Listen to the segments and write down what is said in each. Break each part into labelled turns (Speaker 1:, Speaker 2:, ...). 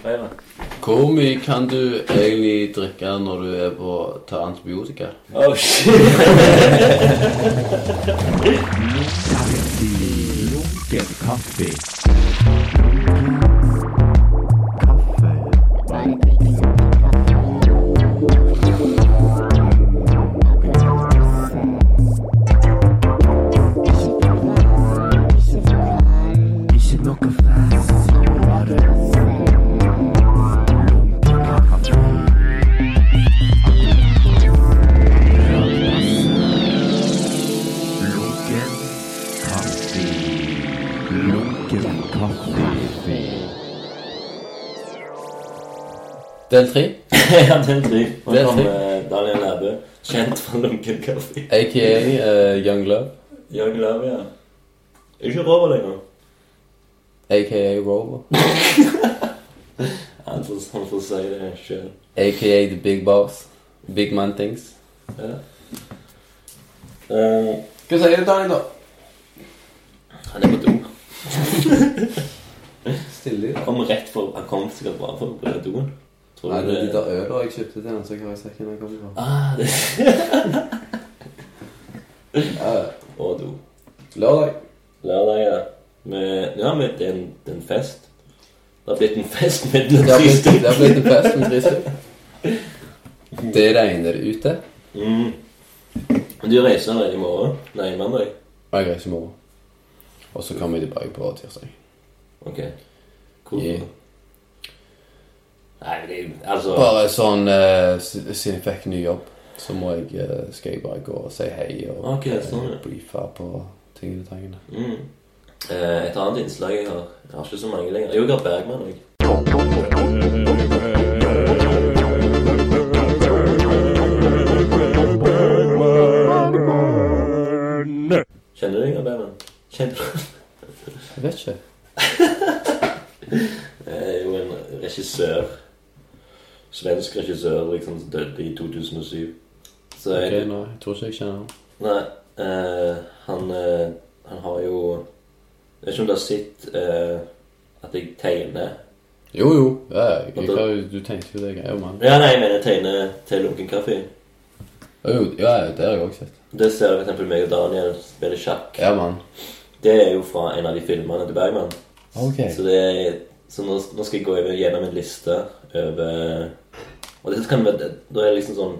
Speaker 1: Flere.
Speaker 2: Hvor mye kan du egentlig drikke når du er på ta antibiotika?
Speaker 1: Oh, shit.
Speaker 2: Del tre,
Speaker 1: ja, den tre. Nå
Speaker 2: Det er
Speaker 1: kommer eh, Daniel Nærbø, kjent fra Lunken kaffe.
Speaker 2: aka eh, Young Love,
Speaker 1: Young Love, ja. Er Ikke røver lenger.
Speaker 2: aka Rover,
Speaker 1: Han får, han får si det sjøl.
Speaker 2: aka The Big Boss, Big Man Things.
Speaker 1: Ja. Eh,
Speaker 2: Hva sier du, Daniel, da?
Speaker 1: han er på do.
Speaker 2: Stille.
Speaker 1: Han kom rett for, han kom sikkert bare for å på doen. Tror
Speaker 2: Nei,
Speaker 1: du
Speaker 2: det er de der øla jeg kjøpte til han, så jeg har i sekken når jeg kommer fra.
Speaker 1: Ah, det
Speaker 2: Ja, ja.
Speaker 1: Og do.
Speaker 2: Lørdag.
Speaker 1: Lørdag, ja. Med, ja, med det er en, det er en fest. Det har blitt en fest med den
Speaker 2: Det har blitt-
Speaker 1: triste.
Speaker 2: det har blitt en fest med tre stykker. Det regner ute.
Speaker 1: Mm. Men Du reiser allerede i morgen? Nei, mandag?
Speaker 2: Og jeg reiser i morgen. Og så kommer jeg tilbake på tirsdag.
Speaker 1: Ok. Cool.
Speaker 2: Yeah.
Speaker 1: Nei, men det er jo Altså
Speaker 2: Bare sånn eh, s- Siden jeg fikk ny jobb, så må jeg, eh, skal jeg bare gå og si hei og
Speaker 1: Ok, sånn, ja.
Speaker 2: eh, briefe på tingene og tangene.
Speaker 1: mm. Eh, Et annet innslag jeg har Jeg har ikke så mange lenger. Jo, jeg har Bergman òg. Kjenner du Inger Bergman? Kjenner du
Speaker 2: Jeg vet ikke.
Speaker 1: er jo en regissør Svensk regissør liksom som døde i 2007. Så jeg,
Speaker 2: Ok, nei, jeg tror ikke jeg kjenner han.
Speaker 1: Nei, eh, han, eh, han har jo Jeg vet ikke om du har sett eh, at jeg tegner
Speaker 2: Jo, jo. Ja, jeg,
Speaker 1: Vent
Speaker 2: jeg,
Speaker 1: da.
Speaker 2: har- du tenkte jo det, jeg er jo mann.
Speaker 1: Ja, nei, jeg mener jeg tegner til Lunken kaffe.
Speaker 2: Ja, jo, ja, ja, det har jeg også sett.
Speaker 1: Det ser jeg for eksempel meg og Daniel spille sjakk.
Speaker 2: Jeg er mann.
Speaker 1: Det er jo fra en av de filmene til Bergman.
Speaker 2: Ok.
Speaker 1: Så, det er, så nå, nå skal jeg gå over- gjennom en liste over Og dette kan være Da er det liksom sånn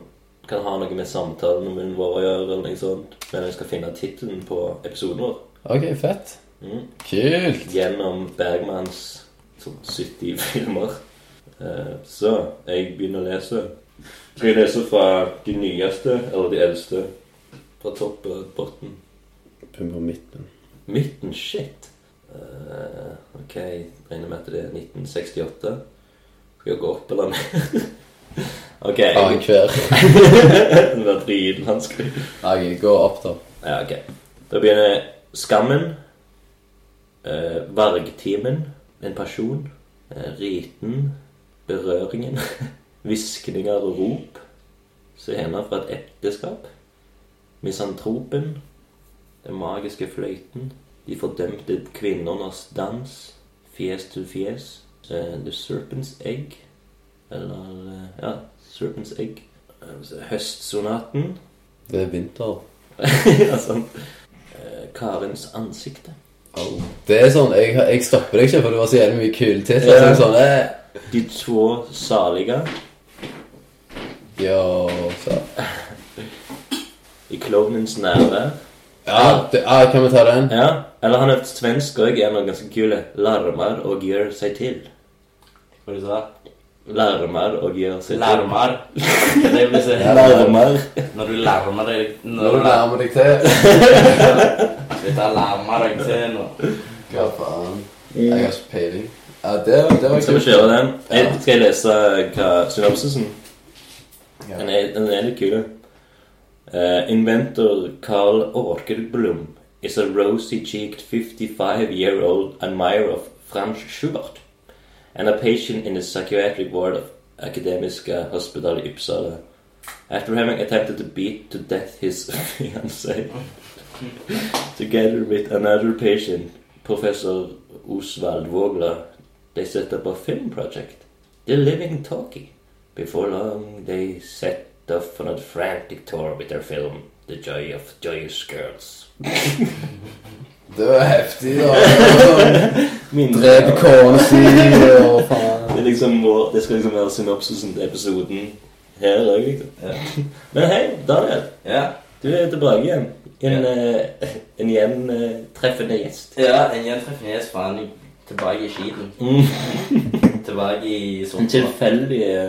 Speaker 1: Kan ha noe med samtalen med vår å gjøre, eller noe sånt. Men jeg skal finne tittelen på episoden vår.
Speaker 2: Ok, fett.
Speaker 1: Mm.
Speaker 2: Kult.
Speaker 1: Gjennom Bergmans sånn 70 filmer. Eh, Så jeg begynner å lese. Skal jeg lese fra de nyeste, eller de eldste? Fra topp og bunnen?
Speaker 2: Begynn på midten.
Speaker 1: Midten, shit. Eh, ok, jeg regner med at det er 1968. Skal jeg gå opp eller ned? ok,
Speaker 2: Annen hver.
Speaker 1: det var dritvanskelig.
Speaker 2: Jeg går opp, da.
Speaker 1: Ja, ok. Da begynner Skammen. eh, vargtimen. En person. eh, riten. Berøringen. Hviskninger og rop. Scener fra et ekteskap. Misantropen. Den magiske fløyten. De fordømte kvinnernes dans. Fjes til fjes. eh, the Serpent's Egg. Eller eh, Ja, Serpent's Egg. Eh, Høstsonaten.
Speaker 2: Det er vinter.
Speaker 1: Ja, sånn. Eh, Karens ansikte.
Speaker 2: Det er sånn, jeg, jeg stopper deg ikke, for det var så jævlig mye kule titler.
Speaker 1: Ja.
Speaker 2: Så jeg sånn, eh,
Speaker 1: De två salige
Speaker 2: jo, så.
Speaker 1: i klovnens nærvær.
Speaker 2: Ja, det, ah, kan vi ta den?
Speaker 1: Ja, eller han er svensk òg, er noe ganske kule. Larmer og gjør seg til.
Speaker 3: Hva du sa
Speaker 1: Larmer og gjør seg
Speaker 3: Larmer. Det vil si
Speaker 1: til. Larmer.
Speaker 3: når du larmer deg
Speaker 2: Når du nærmer deg til.
Speaker 3: Dette larmer deg til nå.
Speaker 2: Hva faen? Jeg har ikke peiling. Ja, det, det var
Speaker 1: Skal vi kjøre den? Jeg, skal jeg lese hva synopsisen
Speaker 2: Ja.
Speaker 1: Den er, den er litt kul. Uh, inventor Carl Åkerblom is a rosy-cheeked 55-year-old admirer of Franz Schubert and a patient in the psychiatric ward of Akademiska Hospital i Uppsala. After having attempted to beat to death his fiancée together with another patient, Professor Osvald Vogler, they set up a film project the living talkie. Before long, they set off on a frantic tour with their film, The Joy of Joyous Girls.
Speaker 2: Det var heftig, da. Drep
Speaker 1: Mindre
Speaker 2: kona si og faen.
Speaker 1: Det, er liksom vår, det skal liksom være synopsisen til episoden her òg, liksom.
Speaker 3: Ja.
Speaker 1: Men hei, Daniel.
Speaker 3: Ja.
Speaker 1: Du er tilbake igjen. En,
Speaker 3: Ja.
Speaker 1: eh, en gjentreffende gjest.
Speaker 3: ja, en gjentreffende gjest faen jeg- tilbake i skiten.
Speaker 1: Mm.
Speaker 3: Tilbake i
Speaker 1: En
Speaker 3: Sundsvall.
Speaker 1: tilfeldig eh,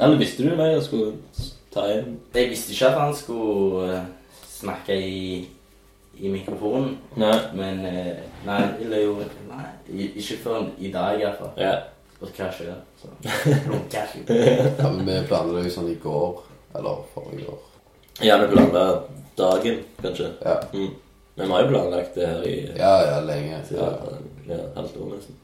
Speaker 1: Eller visste du meg jeg skulle s- ta igjen?
Speaker 3: Jeg visste ikke at han skulle eh, snakke i, i mikrofonen,
Speaker 1: Nei.
Speaker 3: men eh, Nei, eller jo Nei, i- ikke før i dag, iallfall.
Speaker 1: Ja.
Speaker 3: Og hva skjer? Så. Lunker.
Speaker 2: Ja, men vi planla jo sånn i går. Eller forrige år.
Speaker 1: Gjerne planla dagen, kanskje.
Speaker 2: Ja,
Speaker 1: Mm. Men vi har jo planlagt det her i ja.
Speaker 2: ja, ja lenge.
Speaker 1: Ja,
Speaker 2: Ja.
Speaker 1: et halvt år, nesten.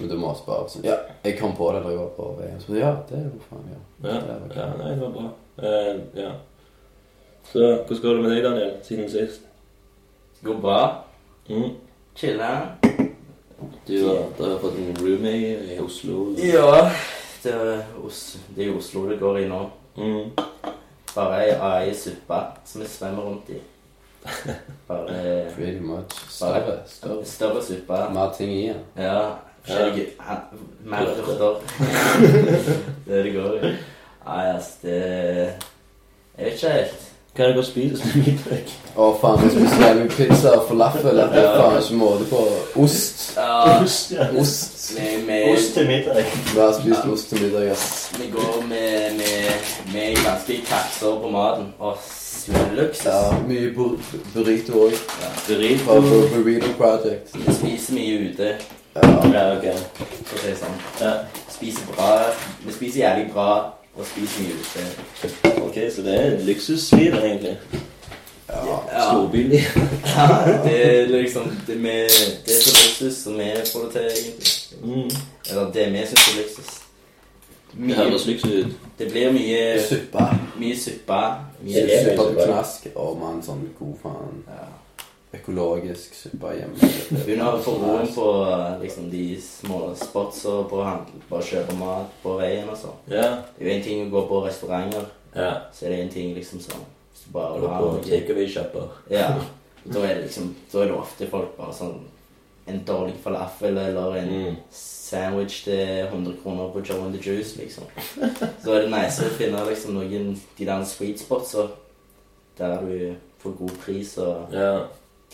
Speaker 2: Men du må spare. Sånn. Ja, jeg kom på det da jeg var på VM. Så ja, det er jo faen, ja.
Speaker 1: Ja.
Speaker 2: Det var
Speaker 1: ja.
Speaker 2: kult.
Speaker 1: Nei, det var bra. Eh, ja. Så hvordan går det med deg, Daniel, siden sist?
Speaker 3: Går bra.
Speaker 1: Mm.
Speaker 3: Chille.
Speaker 1: Du har, du har fått en roomie i Oslo.
Speaker 3: Ja. Det er, Os det er Oslo det går i nå.
Speaker 1: Mm.
Speaker 3: Bare ei AI suppe som vi svømmer rundt i. Bare
Speaker 2: Pretty much. Større. Større.
Speaker 3: større suppe.
Speaker 2: Mer ting i den.
Speaker 3: Ja. Forskjellige ha- Mer urter. det er det går i. Nei, altså, det Jeg vet ikke helt.
Speaker 1: Hva er det å spise så mye drikk?
Speaker 2: Å, faen, det er spesielt pizza og falafel. Det er
Speaker 3: Ja.
Speaker 2: faen ikke måte på. Ost.
Speaker 3: Ja,
Speaker 1: Ost, ja.
Speaker 2: Ost.
Speaker 3: vi,
Speaker 1: Ost
Speaker 3: vi,
Speaker 1: til middag.
Speaker 2: Vi har spist ost til middag, ass.
Speaker 3: vi går med, med, med ganske kapser på maten. Og luksus.
Speaker 2: Ja, mye bur burrito òg.
Speaker 1: Burrito.
Speaker 2: Fra Bur- Burrito Project.
Speaker 3: Vi spiser mye ute,
Speaker 2: Ja.
Speaker 1: Ja, ok.
Speaker 3: for å si det sånn.
Speaker 1: Ja.
Speaker 3: Spiser bra. Vi spiser jævlig bra og spiser mye ute.
Speaker 1: Ok, så det er et luksusliv, egentlig.
Speaker 2: ja.
Speaker 3: Ja.
Speaker 1: Storbyliv.
Speaker 3: Ja, det er liksom Det, med, det er så luksus som vi får det til, egentlig.
Speaker 1: Mm.
Speaker 3: Eller det vi syns er luksus.
Speaker 1: Det
Speaker 3: Mye,
Speaker 1: høres luksus ut.
Speaker 3: det blir mye,
Speaker 2: Suppe.
Speaker 3: mye suppe. Mye
Speaker 1: Det er
Speaker 2: Suppe
Speaker 1: veldig
Speaker 2: på
Speaker 1: bra.
Speaker 2: knask. Å, mann, sånn god faen.
Speaker 3: ja.
Speaker 2: Økologisk suppe hjemme.
Speaker 3: Begynner å få roen på liksom, de små spotsa på handel. Bare kjøpe mat på veien og sånn.
Speaker 1: Ja.
Speaker 3: Det er jo én ting å gå på restauranter,
Speaker 1: Ja.
Speaker 3: så er det en ting liksom sånn Hvis du bare
Speaker 1: Og
Speaker 3: vil ha
Speaker 1: på
Speaker 3: noe
Speaker 1: takeaway-shopper.
Speaker 3: Ja. Da er det liksom Da er det ofte folk bare sånn En dårlig falafel eller en
Speaker 1: Mm.
Speaker 3: sandwich til 100 kroner på Joe and the Juice, liksom. Så er det nice å finne liksom noen de der sweet spots og der du får god pris og
Speaker 1: Ja.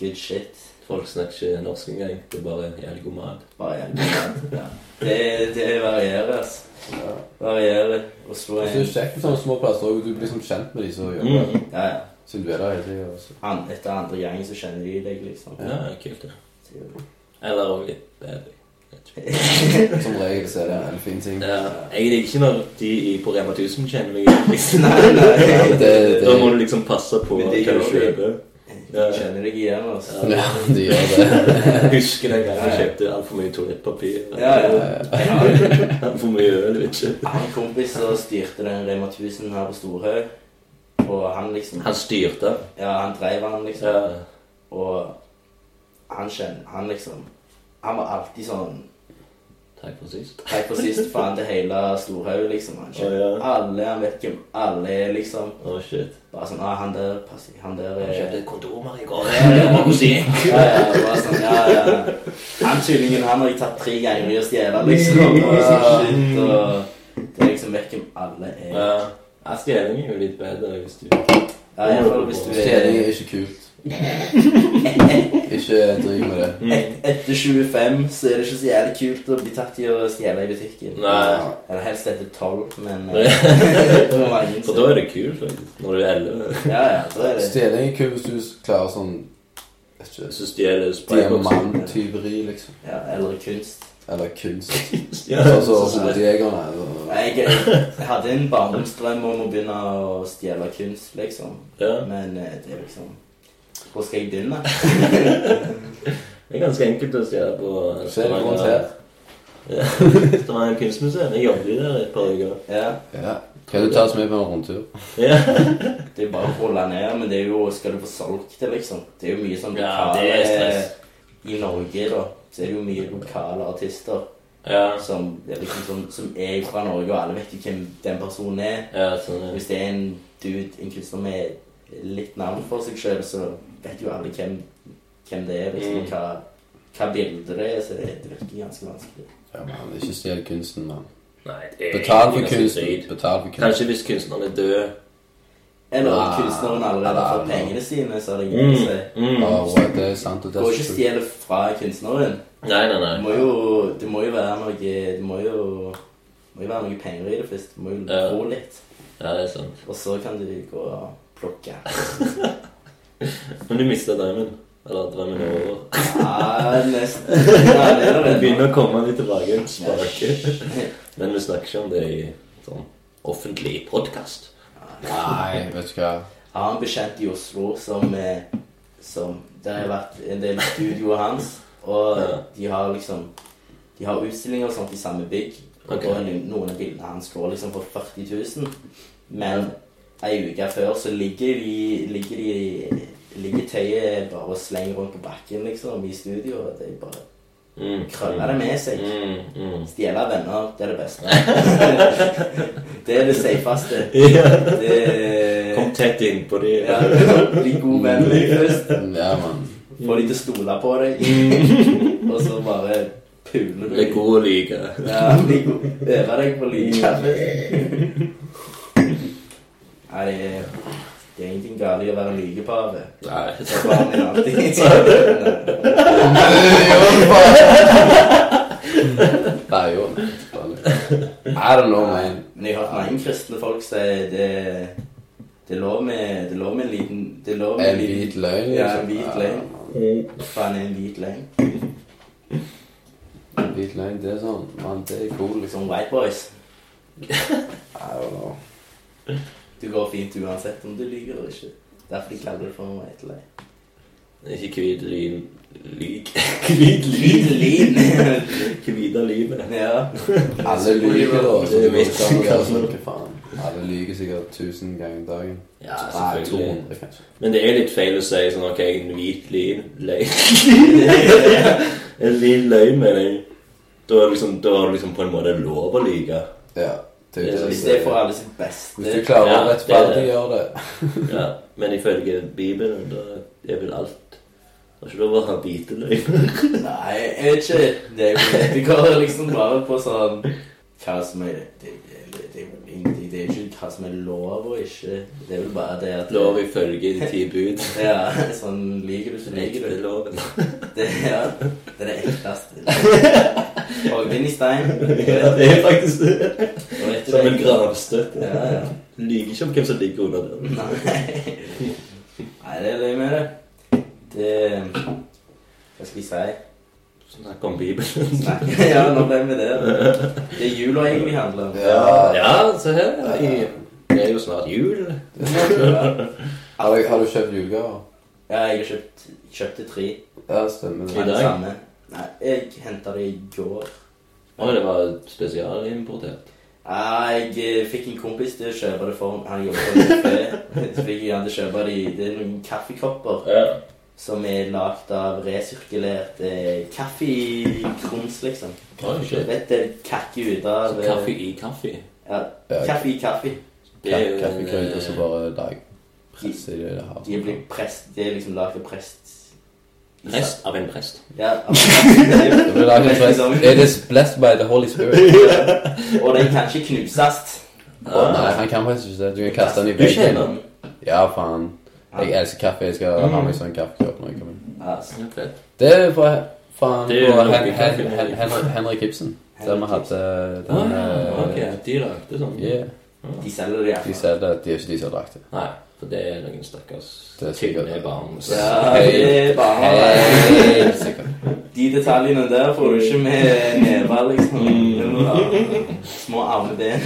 Speaker 3: good shit.
Speaker 1: Folk snakker ikke norsk engang. Det er bare jævlig god mat.
Speaker 3: Bare jævlig bra. Ja. Det, det varierer, altså.
Speaker 2: Ja.
Speaker 3: Varierer. Oslo
Speaker 2: Og
Speaker 3: er
Speaker 2: så er det
Speaker 3: en
Speaker 2: kjekt med sånne små plasser også, Du blir liksom kjent med de som jobber der.
Speaker 1: Mm.
Speaker 3: Ja, ja.
Speaker 2: Siden du er der hele tiden, altså.
Speaker 3: An, etter andre gang så kjenner de deg, liksom.
Speaker 1: Ja, kult, det.
Speaker 3: Det er jo-
Speaker 1: Eller også litt bedre.
Speaker 2: Som regel så er det en fin ting.
Speaker 1: Ja. Jeg liker ikke når de i- på Rema 1000 kjenner meg igjen. liksom.
Speaker 3: Nei, nei.
Speaker 2: Det- det-
Speaker 1: Da må du liksom passe på
Speaker 3: Men
Speaker 1: hva
Speaker 3: det
Speaker 1: du
Speaker 3: gjør vi.
Speaker 1: kjøper.
Speaker 3: De kjenner deg igjen, altså.
Speaker 2: Ja, de gjør det.
Speaker 1: Jeg husker den gangen jeg kjøpte altfor mye toalettpapir.
Speaker 3: Ja, ja. Jeg har
Speaker 1: Altfor mye øl, vet ikke.
Speaker 3: jeg har en kompis som styrte den Rema 1000 her på Storhaug. Og han liksom
Speaker 1: Han styrte.
Speaker 3: Ja, han drev han, liksom.
Speaker 1: Ja.
Speaker 3: Og han kjenner Han liksom Han var alltid sånn
Speaker 1: Takk for sist.
Speaker 3: Takk for sist, faen til hele Storhaug, liksom. Han kjenner
Speaker 1: Å, ja.
Speaker 3: alle, han vet hvem alle er, liksom.
Speaker 1: Å, shit. Eh,
Speaker 3: Bare sånn ah, 'Han der passer Han der
Speaker 1: Jeg
Speaker 3: er
Speaker 1: kjøpte kondomer i går. Det var musikk.
Speaker 3: ja, ja, bare sånn, ja, ja. Han tullingen han har jeg tatt tre ganger i å stjele, liksom. Og, shit, og det er liksom vet hvem alle er.
Speaker 1: Ja. Ja, Stjeling er jo litt bedre hvis du
Speaker 3: Ja, i hvert fall hvis du
Speaker 2: Stjeling er
Speaker 3: er
Speaker 2: ikke kult. Ikke driv med det.
Speaker 1: Mm.
Speaker 3: et, etter 25, så er det ikke så jævlig kult å bli tatt i å stjele i butikken.
Speaker 1: Nei.
Speaker 3: Eller helst etter 12, men eh, det er mange
Speaker 1: For da
Speaker 3: som-
Speaker 1: er det kult, faktisk. Når du er 11.
Speaker 3: Ja, ja, da er det
Speaker 2: Stjeling er kult hvis du klarer sånn vet ikke,
Speaker 1: Så stjeler sprayboksen.
Speaker 2: diamanttyveri, liksom.
Speaker 3: ja, Eller kunst.
Speaker 2: Eller kunst.
Speaker 1: Ja,
Speaker 2: Sånn som
Speaker 1: så-
Speaker 2: hodejegerne.
Speaker 3: Nei,
Speaker 2: eller-
Speaker 3: Jeg, jeg hadde en barndomsdrøm om å begynne å stjele kunst, liksom.
Speaker 1: ja.
Speaker 3: Men eh, det er liksom Hvor skal jeg begynne?
Speaker 1: Det er ganske enkelt å stjele på
Speaker 2: Se litt rundt her.
Speaker 1: Ja. Stavanger kunstmuseum. Jeg jobbet jo der i et par uker.
Speaker 3: Ja.
Speaker 2: Ja. Kan du ta oss med på en rundtur?
Speaker 1: Ja.
Speaker 3: Det er bare å holde ned, men det er jo Skal du få solgt det, liksom? Det er jo mye sånn
Speaker 1: Ja, det er stress.
Speaker 3: I Norge, da, så er det jo mye lokale artister
Speaker 1: Ja,
Speaker 3: Som, det er liksom sånn, som er fra Norge, og alle vet jo hvem den personen er.
Speaker 1: ja sånn ja.
Speaker 3: Hvis det er en dude, en kunstner med litt navn for seg sjøl, så vet jo alle hvem, hvem det er, liksom,
Speaker 1: Mm.
Speaker 3: og hva, hva bilde det er, så det, det virker ganske vanskelig.
Speaker 2: Ja, man, Ikke stjel kunsten, mann.
Speaker 1: Nei, det er
Speaker 2: Betal for
Speaker 1: egentlig ganske
Speaker 2: kunsten.
Speaker 1: drit.
Speaker 2: Betal for kunsten.
Speaker 1: Kanskje hvis kunstneren er død
Speaker 3: Eller
Speaker 2: Nei.
Speaker 3: kunstneren allerede har fått
Speaker 2: Nei.
Speaker 3: pengene sine, så er det ingen
Speaker 1: mm.
Speaker 3: som
Speaker 1: Mm.
Speaker 2: Ja, og det er sant, og det
Speaker 3: Går
Speaker 2: er
Speaker 3: ikke
Speaker 2: så-
Speaker 3: stjele fra kunstneren.
Speaker 1: Nei, nei,
Speaker 3: Det
Speaker 1: nei.
Speaker 3: må jo, det må jo være noe Det må jo, må jo være noe penger i det først. Du må jo
Speaker 1: Ja.
Speaker 3: få litt.
Speaker 1: Ja, det er sant.
Speaker 3: Og så kan du gå og plukke.
Speaker 1: Men du mista drømmen. Eller drømmen er over.
Speaker 3: Ja, nesten. Ja, det er
Speaker 1: Det
Speaker 3: det vel.
Speaker 1: begynner å komme litt tilbake. en spake. Men vi snakker ikke om det i sånn offentlig podkast.
Speaker 2: Nei, vet du hva.
Speaker 3: Jeg har en bekjent i Oslo som, eh, som Det har vært en del studioer hans, og
Speaker 1: Ja.
Speaker 3: de har liksom De har utstillinger og sånt i samme bygg.
Speaker 1: Ok.
Speaker 3: Og no- noen av bildene hans går liksom for 40 000. Men ei uke før så ligger de Ligger, de, ligger tøyet bare og slenger rundt på bakken liksom i studio. Og de bare
Speaker 1: Mm.
Speaker 3: krøller det med seg.
Speaker 1: Mm, mm.
Speaker 3: Stjele av venner, det er det beste. det er det safeste.
Speaker 1: Ja.
Speaker 3: Det
Speaker 1: Kom tett innpå de
Speaker 3: ja, bli god venn med dem først.
Speaker 2: Mm, Ja, mann.
Speaker 3: Få dem til å stole på deg. Og så bare pule
Speaker 1: Mm. Det er god å lyge.
Speaker 3: Ja, bli god. Øve deg på lyden. Nei, det er ingenting galt i å være lygepave.
Speaker 1: Nei.
Speaker 3: Det er bare en alltid- Nei.
Speaker 2: Nei, jo. I don't know, man.
Speaker 3: Men jeg har hørt mange kristne folk si det det lå med Det lå med en liten Det lå med
Speaker 2: En hvit løgn.
Speaker 3: Ja,
Speaker 2: liksom.
Speaker 3: en hvit løgn.
Speaker 1: Mm.
Speaker 3: Hva faen er en hvit løgn?
Speaker 2: Ja, en Hvit løgn, det er sånn Man, det er cool, liksom.
Speaker 3: Liksom white boys.
Speaker 2: I don't know.
Speaker 3: Det går fint uansett om du lyver eller ikke. Derfor de kaller det for en white løgn.
Speaker 1: Ikke hvit lyn Lyg. Hvit
Speaker 3: Hvit
Speaker 1: lyn.
Speaker 3: lin.
Speaker 1: Hvite lynet.
Speaker 3: ja.
Speaker 2: Alle lyver, da. Så
Speaker 1: Det
Speaker 2: du
Speaker 1: er mitt
Speaker 2: må ikke være
Speaker 1: sikkert.
Speaker 2: sånn, hva faen. Alle lyver sikkert 1000 ganger om dagen.
Speaker 1: Ja,
Speaker 2: Nei,
Speaker 1: selvfølgelig.
Speaker 2: 200, kanskje.
Speaker 1: Men det er litt feil å si sånn OK, en hvit lyn løgn. En lyn løgn, mener jeg. Da er det liksom, da er det liksom på en måte lov å lyge.
Speaker 2: Ja. Det er jo
Speaker 3: Hvis
Speaker 2: det
Speaker 3: det er
Speaker 2: jeg
Speaker 3: for
Speaker 2: sier.
Speaker 3: alle sitt beste
Speaker 2: Hvis du klarer
Speaker 1: Ja, det
Speaker 2: å
Speaker 1: er det.
Speaker 2: rettferdiggjøre det
Speaker 1: Ja, men ifølge Bibelen, da er vel alt Det er ikke lov å ha hvite løgner.
Speaker 3: Nei, jeg vet ikke. Det, er- det går liksom bare på sånn Hva som er Det, det, det, er ingenting. det er ikke hva som er lov og ikke. Det er vel bare det at
Speaker 1: Lov ifølge de ti bud.
Speaker 3: Ja, sånn liker du, så liker du.
Speaker 1: loven.
Speaker 3: Det, ja, det er det ekleste. Hogd inn i stein.
Speaker 1: Ja, det er faktisk det.
Speaker 3: Og vet du
Speaker 1: Som en
Speaker 3: det?
Speaker 1: gravstøtte.
Speaker 3: Ja, ja.
Speaker 1: Lyver ikke om hvem som ligger under den.
Speaker 3: Nei. Nei, det er det med det. Det Hva skal vi si?
Speaker 1: Snakk om Bibelen.
Speaker 3: Nei, ja, nå ble vi det. Det er jula egentlig handler om.
Speaker 2: Ja.
Speaker 1: Ja, se her. i- Det er jo snart jul.
Speaker 2: Har du, har du kjøpt julegaver?
Speaker 3: Ja, jeg har kjøpt, kjøpte tre.
Speaker 2: Ja, stemmer
Speaker 1: I
Speaker 3: Tre
Speaker 2: det.
Speaker 1: dag?
Speaker 3: samme. Nei, jeg henta det i går.
Speaker 1: Og det var spesialimportert.
Speaker 3: Ja, Jeg eh, fikk en kompis til å kjøpe det for meg. Han jobber på kafé. Så fikk jeg han til å kjøpe det i Det er noen kaffekopper
Speaker 1: Ja.
Speaker 3: som er lagd av resirkulert eh, kaffekrums, liksom.
Speaker 1: Oi,
Speaker 3: Du
Speaker 1: shit.
Speaker 3: vet det kakke ut av
Speaker 1: Så
Speaker 3: eh,
Speaker 1: Kaffe i kaffe.
Speaker 3: Ja,
Speaker 2: Ja,
Speaker 3: kaffe i kaffe.
Speaker 1: Det er jo en,
Speaker 2: Kaffekrøyt, og så
Speaker 1: eh,
Speaker 2: bare dag. Presser i det her.
Speaker 3: De blir prest, de er liksom lagd av prest.
Speaker 1: Prest av en prest.
Speaker 3: Ja, av prest. Det er jo-
Speaker 2: Det blir laget en press. It is blessed by the Holy Spirit.
Speaker 3: Og den kan ikke knuses.
Speaker 2: Å,
Speaker 1: Ah,
Speaker 2: nei, han kan faktisk ikke det. Du kan kaste den i
Speaker 1: Du kjenner
Speaker 2: veggen.
Speaker 1: den.
Speaker 2: Ja, faen. Jeg elsker kaffe. Jeg skal ha meg sånn kaffekopp når jeg kommer inn.
Speaker 3: Ja, altså. så-
Speaker 1: Ja, fett.
Speaker 2: Det er fra faen
Speaker 1: Det er jo
Speaker 2: fra
Speaker 1: noe
Speaker 2: Hen-
Speaker 1: kaffe.
Speaker 2: Hen- Hen- Hen- Henrik Ibsen. Der vi hadde
Speaker 1: Å
Speaker 2: den
Speaker 1: ja,
Speaker 2: eh,
Speaker 1: Ah, ok. De lagde sånn?
Speaker 2: yeah.
Speaker 3: De selger det,
Speaker 2: De
Speaker 3: ja.
Speaker 2: sier det. De er ikke de som har lagt det.
Speaker 1: Nei, for det er noen stakkars
Speaker 2: Det er sikkert-
Speaker 1: tynne barn. Så.
Speaker 3: Ja, det er bare
Speaker 2: Helt sikkert.
Speaker 3: De detaljene der får du ikke med never, liksom.
Speaker 1: Mm.
Speaker 3: Ja. Små armeben.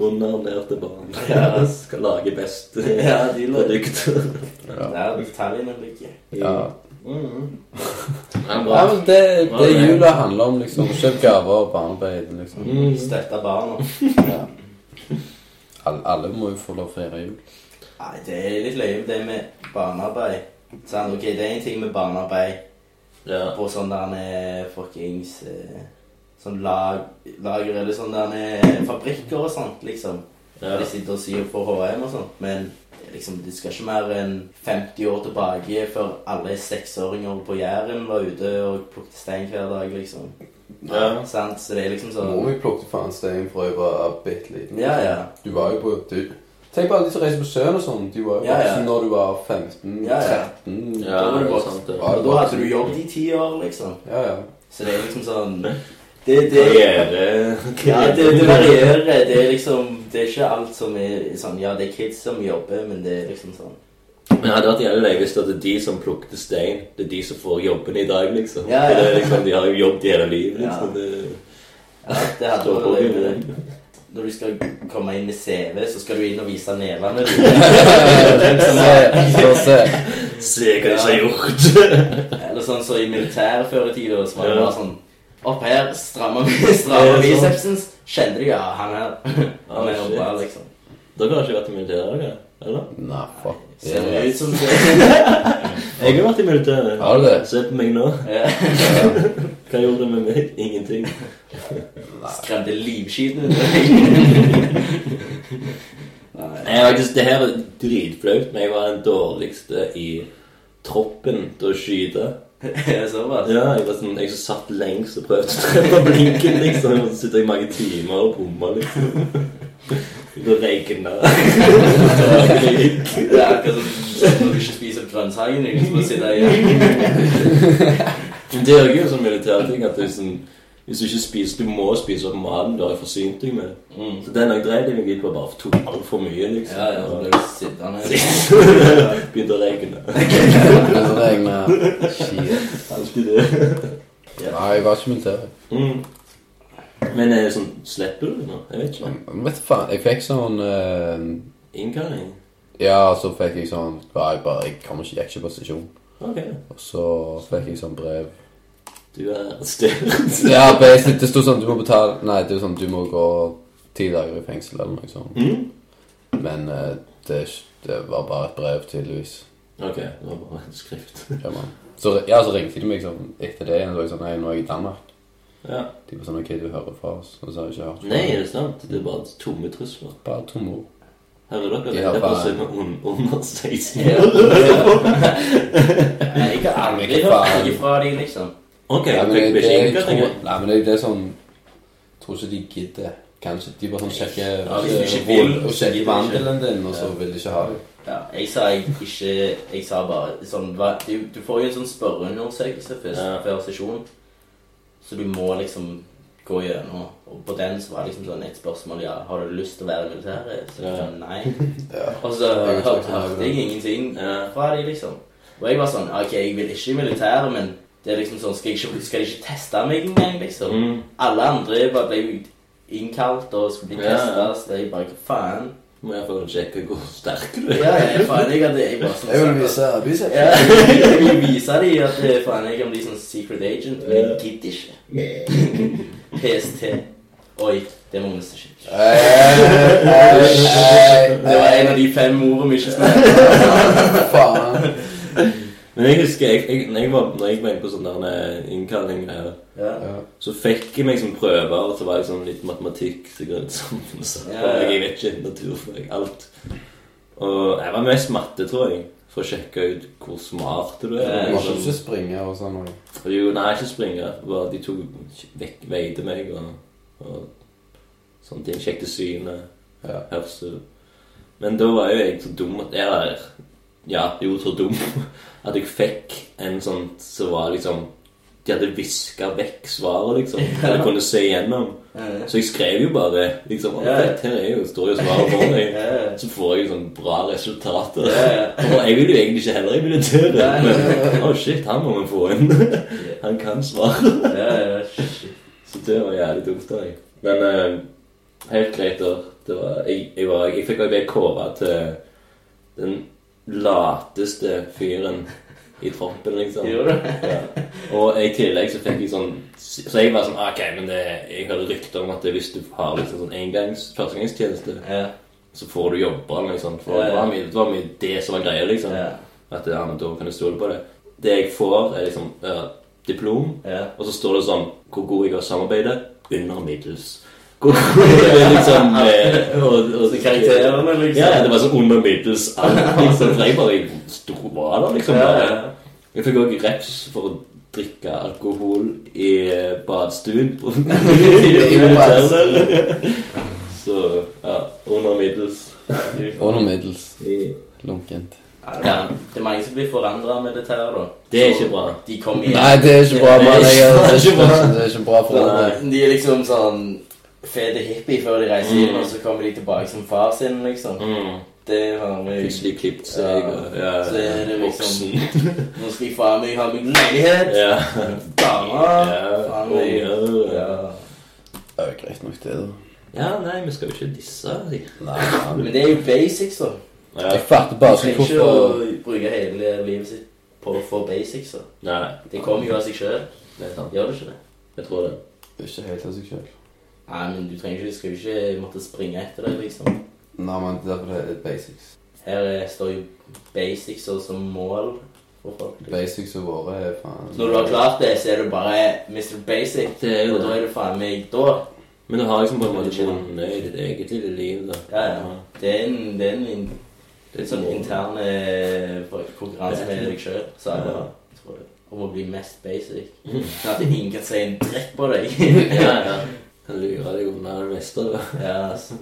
Speaker 1: Underernærte barn
Speaker 3: Ja. altså.
Speaker 1: skal lage best
Speaker 3: Ja, de lå
Speaker 1: produkt.
Speaker 2: Ja.
Speaker 3: Der detaljene ligger.
Speaker 2: Ja.
Speaker 3: Mm.
Speaker 1: Ja,
Speaker 2: Ja,
Speaker 1: bra.
Speaker 2: men det, det
Speaker 1: Bra, det.
Speaker 2: jula handler om, liksom. Kjøp gaver og barnearbeid, liksom.
Speaker 1: Mm.
Speaker 3: Støtte barna.
Speaker 2: Ja. Alle, alle må jo få lov å feire jul.
Speaker 3: Sånn, Nei, det er litt løye med det med barnearbeid. Sant? Ok, det er en ting med barnearbeid,
Speaker 1: Ja.
Speaker 3: på sånn der han er fuckings eh, Sånn lag, lager eller sånn der han er fabrikker og sånt, liksom.
Speaker 1: Ja.
Speaker 3: De sitter og syr for HM og sånt, men liksom, du skal ikke mer enn 50 år tilbake før alle seksåringer på Jæren var ute og plukket stein hver dag, liksom.
Speaker 1: Ja.
Speaker 3: Sant? Så det er liksom sånn
Speaker 2: Mor mi plukket faen stein fra jeg var bitte liten.
Speaker 3: Ja, ja.
Speaker 2: Du var jo på du, Tenk på alle de som reiser på sjøen og sånn. De var jo
Speaker 3: Ja, ja.
Speaker 2: voksen når du var 15-13.
Speaker 3: Ja, ja.
Speaker 1: Ja,
Speaker 3: Da var det
Speaker 1: det er
Speaker 3: voksen.
Speaker 1: sant, det.
Speaker 2: Ja,
Speaker 3: Og da hadde du jobb i ti år, liksom.
Speaker 2: Ja, ja.
Speaker 3: Så det er liksom sånn Det, det,
Speaker 1: Det er det.
Speaker 3: ja, det, det varierer. Det er liksom Det er ikke alt som er sånn Ja, det er kids som jobber, men det er liksom sånn
Speaker 1: Men hadde vært jævlig løye hvis det er de som plukket stein, det er de som får jobben i dag, liksom.
Speaker 3: Ja, ja.
Speaker 1: Det er liksom de har jo jobbet hele livet, liksom.
Speaker 3: Ja.
Speaker 1: Det
Speaker 3: Ja, det hadde
Speaker 1: står på
Speaker 3: vært
Speaker 1: det.
Speaker 3: løye. Når du skal komme inn med CV, så skal du inn og vise nevene.
Speaker 2: se, så se.
Speaker 1: Se hva de har gjort.
Speaker 3: Eller sånn som i militæret før i tida, så var det
Speaker 1: Ja.
Speaker 3: bare sånn Opp her, strammer vi strammer
Speaker 1: Ja, sånn.
Speaker 3: bicepsen. Kjente du ja, han her. Han er
Speaker 1: Ah,
Speaker 3: oppe her,
Speaker 1: shit.
Speaker 3: liksom.
Speaker 1: Dere har ikke vært i militæret, dere? Eller?
Speaker 2: Nei, fuck. det.
Speaker 3: Ser det ut som det?
Speaker 1: Jeg har vært i militæret.
Speaker 2: Har du det?
Speaker 1: Se på meg nå.
Speaker 3: Ja.
Speaker 1: Hva gjorde det med meg? Ingenting.
Speaker 3: Skremte livskiten ut av meg. Nei.
Speaker 1: Nei, faktisk, det her er dritflaut, men jeg var den dårligste i troppen til å skyte.
Speaker 3: Er det Såpass.
Speaker 1: Ja, jeg var sånn, jeg som satt lengst og prøvde å treffe blinken, liksom. Jeg måtte sitte i mange timer og bomme, liksom. Det regnet.
Speaker 3: Det er akkurat som når du ikke spiser grønnsaken. Liksom, og sitter igjen.
Speaker 1: Men det er jo en sånn militærting at det er sånn, hvis du ikke spiser, du må spise opp maten du har forsynt deg med.
Speaker 3: Mm.
Speaker 1: Så den jeg dreide meg ut på bare tok altfor mye, liksom.
Speaker 3: Ja, ja, så blir du sittende.
Speaker 1: Og Begynte å regne.
Speaker 2: Det regner. Shit.
Speaker 1: Alltid det.
Speaker 2: Nei, jeg var ikke militær.
Speaker 1: Mm. Men er det sånn, slipper du det nå? Jeg vet ikke.
Speaker 2: Men Vet du faen, jeg fikk sånn eh,
Speaker 1: Innkalling?
Speaker 2: Ja, så fikk jeg sånn Nei, jeg bare Jeg kom ikke, gikk ikke på stasjon.
Speaker 1: Ok.
Speaker 2: Og så fikk jeg sånn brev
Speaker 1: Du er arrestert.
Speaker 2: Ja, basically, det sto sånn Du må betale Nei, det er sånn Du må gå ti dager i fengsel eller noe sånt.
Speaker 1: Mm.
Speaker 2: Men eh, det, er ikke- det var bare et brev, tydeligvis.
Speaker 1: Ok, det var bare en skrift.
Speaker 2: Ja, man. Så, ja, så ringte de meg sånn etter det. Og så var jeg sånn Nei, nå er jeg i Danmark.
Speaker 1: Ja.
Speaker 2: De var sånn OK, du hører fra oss. Og så har jeg ikke hørt fra
Speaker 1: Nei,
Speaker 2: dem.
Speaker 1: er det sant? Det er bare tomme trusler.
Speaker 2: Bare tomme ord.
Speaker 1: Hører dere?
Speaker 2: Ja,
Speaker 1: det er bare
Speaker 2: bare-
Speaker 1: som er un- under 16
Speaker 3: Ja.
Speaker 1: år.
Speaker 3: Nei, Jeg har aldri hørt noe fra dem, liksom.
Speaker 1: Ok,
Speaker 2: Ja, men
Speaker 1: fikk
Speaker 2: det,
Speaker 1: vi
Speaker 2: det,
Speaker 1: ikke
Speaker 2: jeg tror,
Speaker 1: innkallingen?
Speaker 2: nei, men det, det er sånn Jeg tror ikke de gidder. Kanskje de bare sånn sjekker
Speaker 3: Ja, hvis du ikke
Speaker 2: eh,
Speaker 3: vil,
Speaker 2: vol- og
Speaker 3: så
Speaker 2: sjekker
Speaker 3: gidder du ikke.
Speaker 2: vandelen din, og så vil de ikke ha det.
Speaker 3: Ja, jeg sa jeg ikke Jeg sa bare sånn hva, du, du får jo en sånn spørreundersøkelse først
Speaker 1: Ja.
Speaker 3: før sesjon, så du må liksom gå gjennom. Og på den så var det liksom sånn et spørsmål ja, har du lyst til å være i militæret. Så jeg
Speaker 1: Ja.
Speaker 3: sånn, nei.
Speaker 2: Ja.
Speaker 3: Og så
Speaker 2: Jeg vet
Speaker 3: hør-
Speaker 2: ikke.
Speaker 3: hørte jeg ingenting
Speaker 1: Ja.
Speaker 3: fra dem, liksom. Og jeg var sånn OK, jeg vil ikke i militæret, men det er liksom sånn Skal, jeg ikke, skal de ikke teste meg engang, liksom?
Speaker 1: Mm.
Speaker 3: Alle andre bare ble jo innkalt og skulle bli
Speaker 1: Ja, ja.
Speaker 3: testa, så jeg bare Hva faen?
Speaker 1: Må jeg få sjekke hvor sterk du er?
Speaker 3: Ja, jeg, faen, jeg hadde jeg bare sånn
Speaker 2: vise
Speaker 3: Ja, jeg vil vise dem at eh, faen, jeg kan bli sånn secret agent, men jeg gidder ikke. PST. Oi, det må vi ikke.
Speaker 2: Äh,
Speaker 3: Det var en av
Speaker 2: äh.
Speaker 3: de fem ordene vi ikke snakket om.
Speaker 2: Faen.
Speaker 1: Men jeg husker, jeg, jeg, når, jeg var, når jeg var inne på sånne innkallinger,
Speaker 3: Ja.
Speaker 2: Ja.
Speaker 1: så fikk jeg meg som prøver, og så var det sånn litt matematikk så går det sammen, så
Speaker 3: Ja, ja.
Speaker 1: Jeg vet ikke, naturfag, alt. Og jeg var mest matte, tror jeg, for å sjekke ut hvor smart du er.
Speaker 3: Ja,
Speaker 2: Du må
Speaker 1: liksom.
Speaker 2: ikke springe og sånn. og-
Speaker 1: Jo, nei, ikke springe. Bare de tok vekk veide meg og, og sånne ting. Sjekket synet,
Speaker 2: Ja.
Speaker 1: hørsel. Men da var jo jeg så dum at Eller ja, jo, så dum at jeg fikk en sånn som var liksom De hadde viska vekk svaret, liksom.
Speaker 3: Ja.
Speaker 1: Eller kunne se igjennom.
Speaker 3: Ja.
Speaker 1: Så jeg skrev jo bare liksom «Å,
Speaker 3: Ja.
Speaker 1: fett, Her er jo, står jo svaret for meg.
Speaker 3: Ja, ja.
Speaker 1: Så får jeg jo sånn bra resultater.
Speaker 3: Ja,
Speaker 1: Og jeg vil jo egentlig ikke heller i militæret,
Speaker 3: Nei, nei,
Speaker 1: men å shit, han må vi få inn. Han kan svare.
Speaker 3: ja, ja, shit.
Speaker 1: Så det var jævlig dumt av meg. Men eh, helt greit, da. Det var, jeg, jeg, var, jeg fikk også bli kåra til den lateste fyren i troppen, liksom.
Speaker 3: Gjorde du?
Speaker 1: Ja. Og i tillegg så fikk jeg sånn Så jeg var sånn OK, men det, jeg hørte rykter om at hvis du har liksom sånn engangs, førstegangstjeneste,
Speaker 3: Ja,
Speaker 1: så får du jobbe eller noe sånt. For
Speaker 3: Ja, ja.
Speaker 1: det, var mye, det var mye det som var greia, liksom.
Speaker 3: ja.
Speaker 1: At det, ja, men da kan du stole på det. Det jeg får, er liksom ja, diplom,
Speaker 3: Ja.
Speaker 1: og så står det sånn Hvor god jeg er i å samarbeide? Under middels. Hvor god jeg er liksom eh, og, og,
Speaker 3: Så karakterene, liksom.
Speaker 1: Ja, ja, det var sånn under middels alt, liksom. For jeg bare sto bra der, liksom.
Speaker 3: Ja,
Speaker 1: Bare.
Speaker 3: ja.
Speaker 1: Jeg fikk også reps for å drikke alkohol i badstuen. på- i hotellet. Så ja, under middels.
Speaker 2: Og noe middels
Speaker 1: I-
Speaker 2: lunkent.
Speaker 3: Ja. Det er mange som blir forandra med dette her, da.
Speaker 1: Det er
Speaker 3: Så
Speaker 1: ikke bra.
Speaker 3: De kommer igjen.
Speaker 2: Nei, det er ikke bra, mann. Jeg er- Det er ikke bra, det er ikke bra for andre.
Speaker 3: De er liksom sånn fete hippie før de reiser hjem,
Speaker 1: Mm.
Speaker 3: og så kommer de tilbake som far sin, liksom.
Speaker 1: Mm.
Speaker 3: Det har vi
Speaker 1: Plutselig klippet seg og ja,
Speaker 3: Så er det liksom-
Speaker 1: voksen.
Speaker 3: Nå skal jeg faen meg ha meg leilighet!
Speaker 1: Ja.
Speaker 3: Damer!
Speaker 1: Ja,
Speaker 3: Faen meg.
Speaker 1: ja.
Speaker 3: Ja.
Speaker 2: Det er jo greit nok, det, da.
Speaker 1: ja, nei, vi skal jo ikke disse. de.
Speaker 2: Nei,
Speaker 3: Men det er jo basics, da.
Speaker 1: Ja,
Speaker 2: Jeg fatter bare
Speaker 3: Du
Speaker 2: ikke
Speaker 3: trenger ikke
Speaker 2: hvorfor
Speaker 3: å bruke hele livet sitt på å få basics. da.
Speaker 1: nei,
Speaker 3: Det kommer jo av seg sjøl.
Speaker 1: det er sant.
Speaker 3: Gjør det ikke det?
Speaker 1: Jeg tror det.
Speaker 2: Ikke helt av seg sjøl.
Speaker 3: Nei, men du trenger ikke, du skal jo ikke måtte springe etter det, liksom.
Speaker 2: Nei, men det er derfor det er basics.
Speaker 3: Her eh, står jo basics og som mål for folk. liksom.
Speaker 2: Basics og våre er faen
Speaker 3: Når du har klart det, så er du bare Mr. Basic. Eh,
Speaker 1: Det er
Speaker 3: Og
Speaker 1: jo
Speaker 3: da
Speaker 1: det.
Speaker 3: er du faen meg da.
Speaker 1: Men du har liksom på en måte bonde i ditt eget lille liv, da.
Speaker 3: Ja, ja. Det er en, det er en, in-
Speaker 1: Det er
Speaker 3: en sånn
Speaker 1: mål.
Speaker 3: intern eh, konkurranse med deg sjøl, sa jeg da. tror jeg. Om å bli mest basic. Sånn at ingen kan si en dritt på deg.
Speaker 1: Ja, ja. Kan lure deg unna det meste, da.
Speaker 3: ja, altså,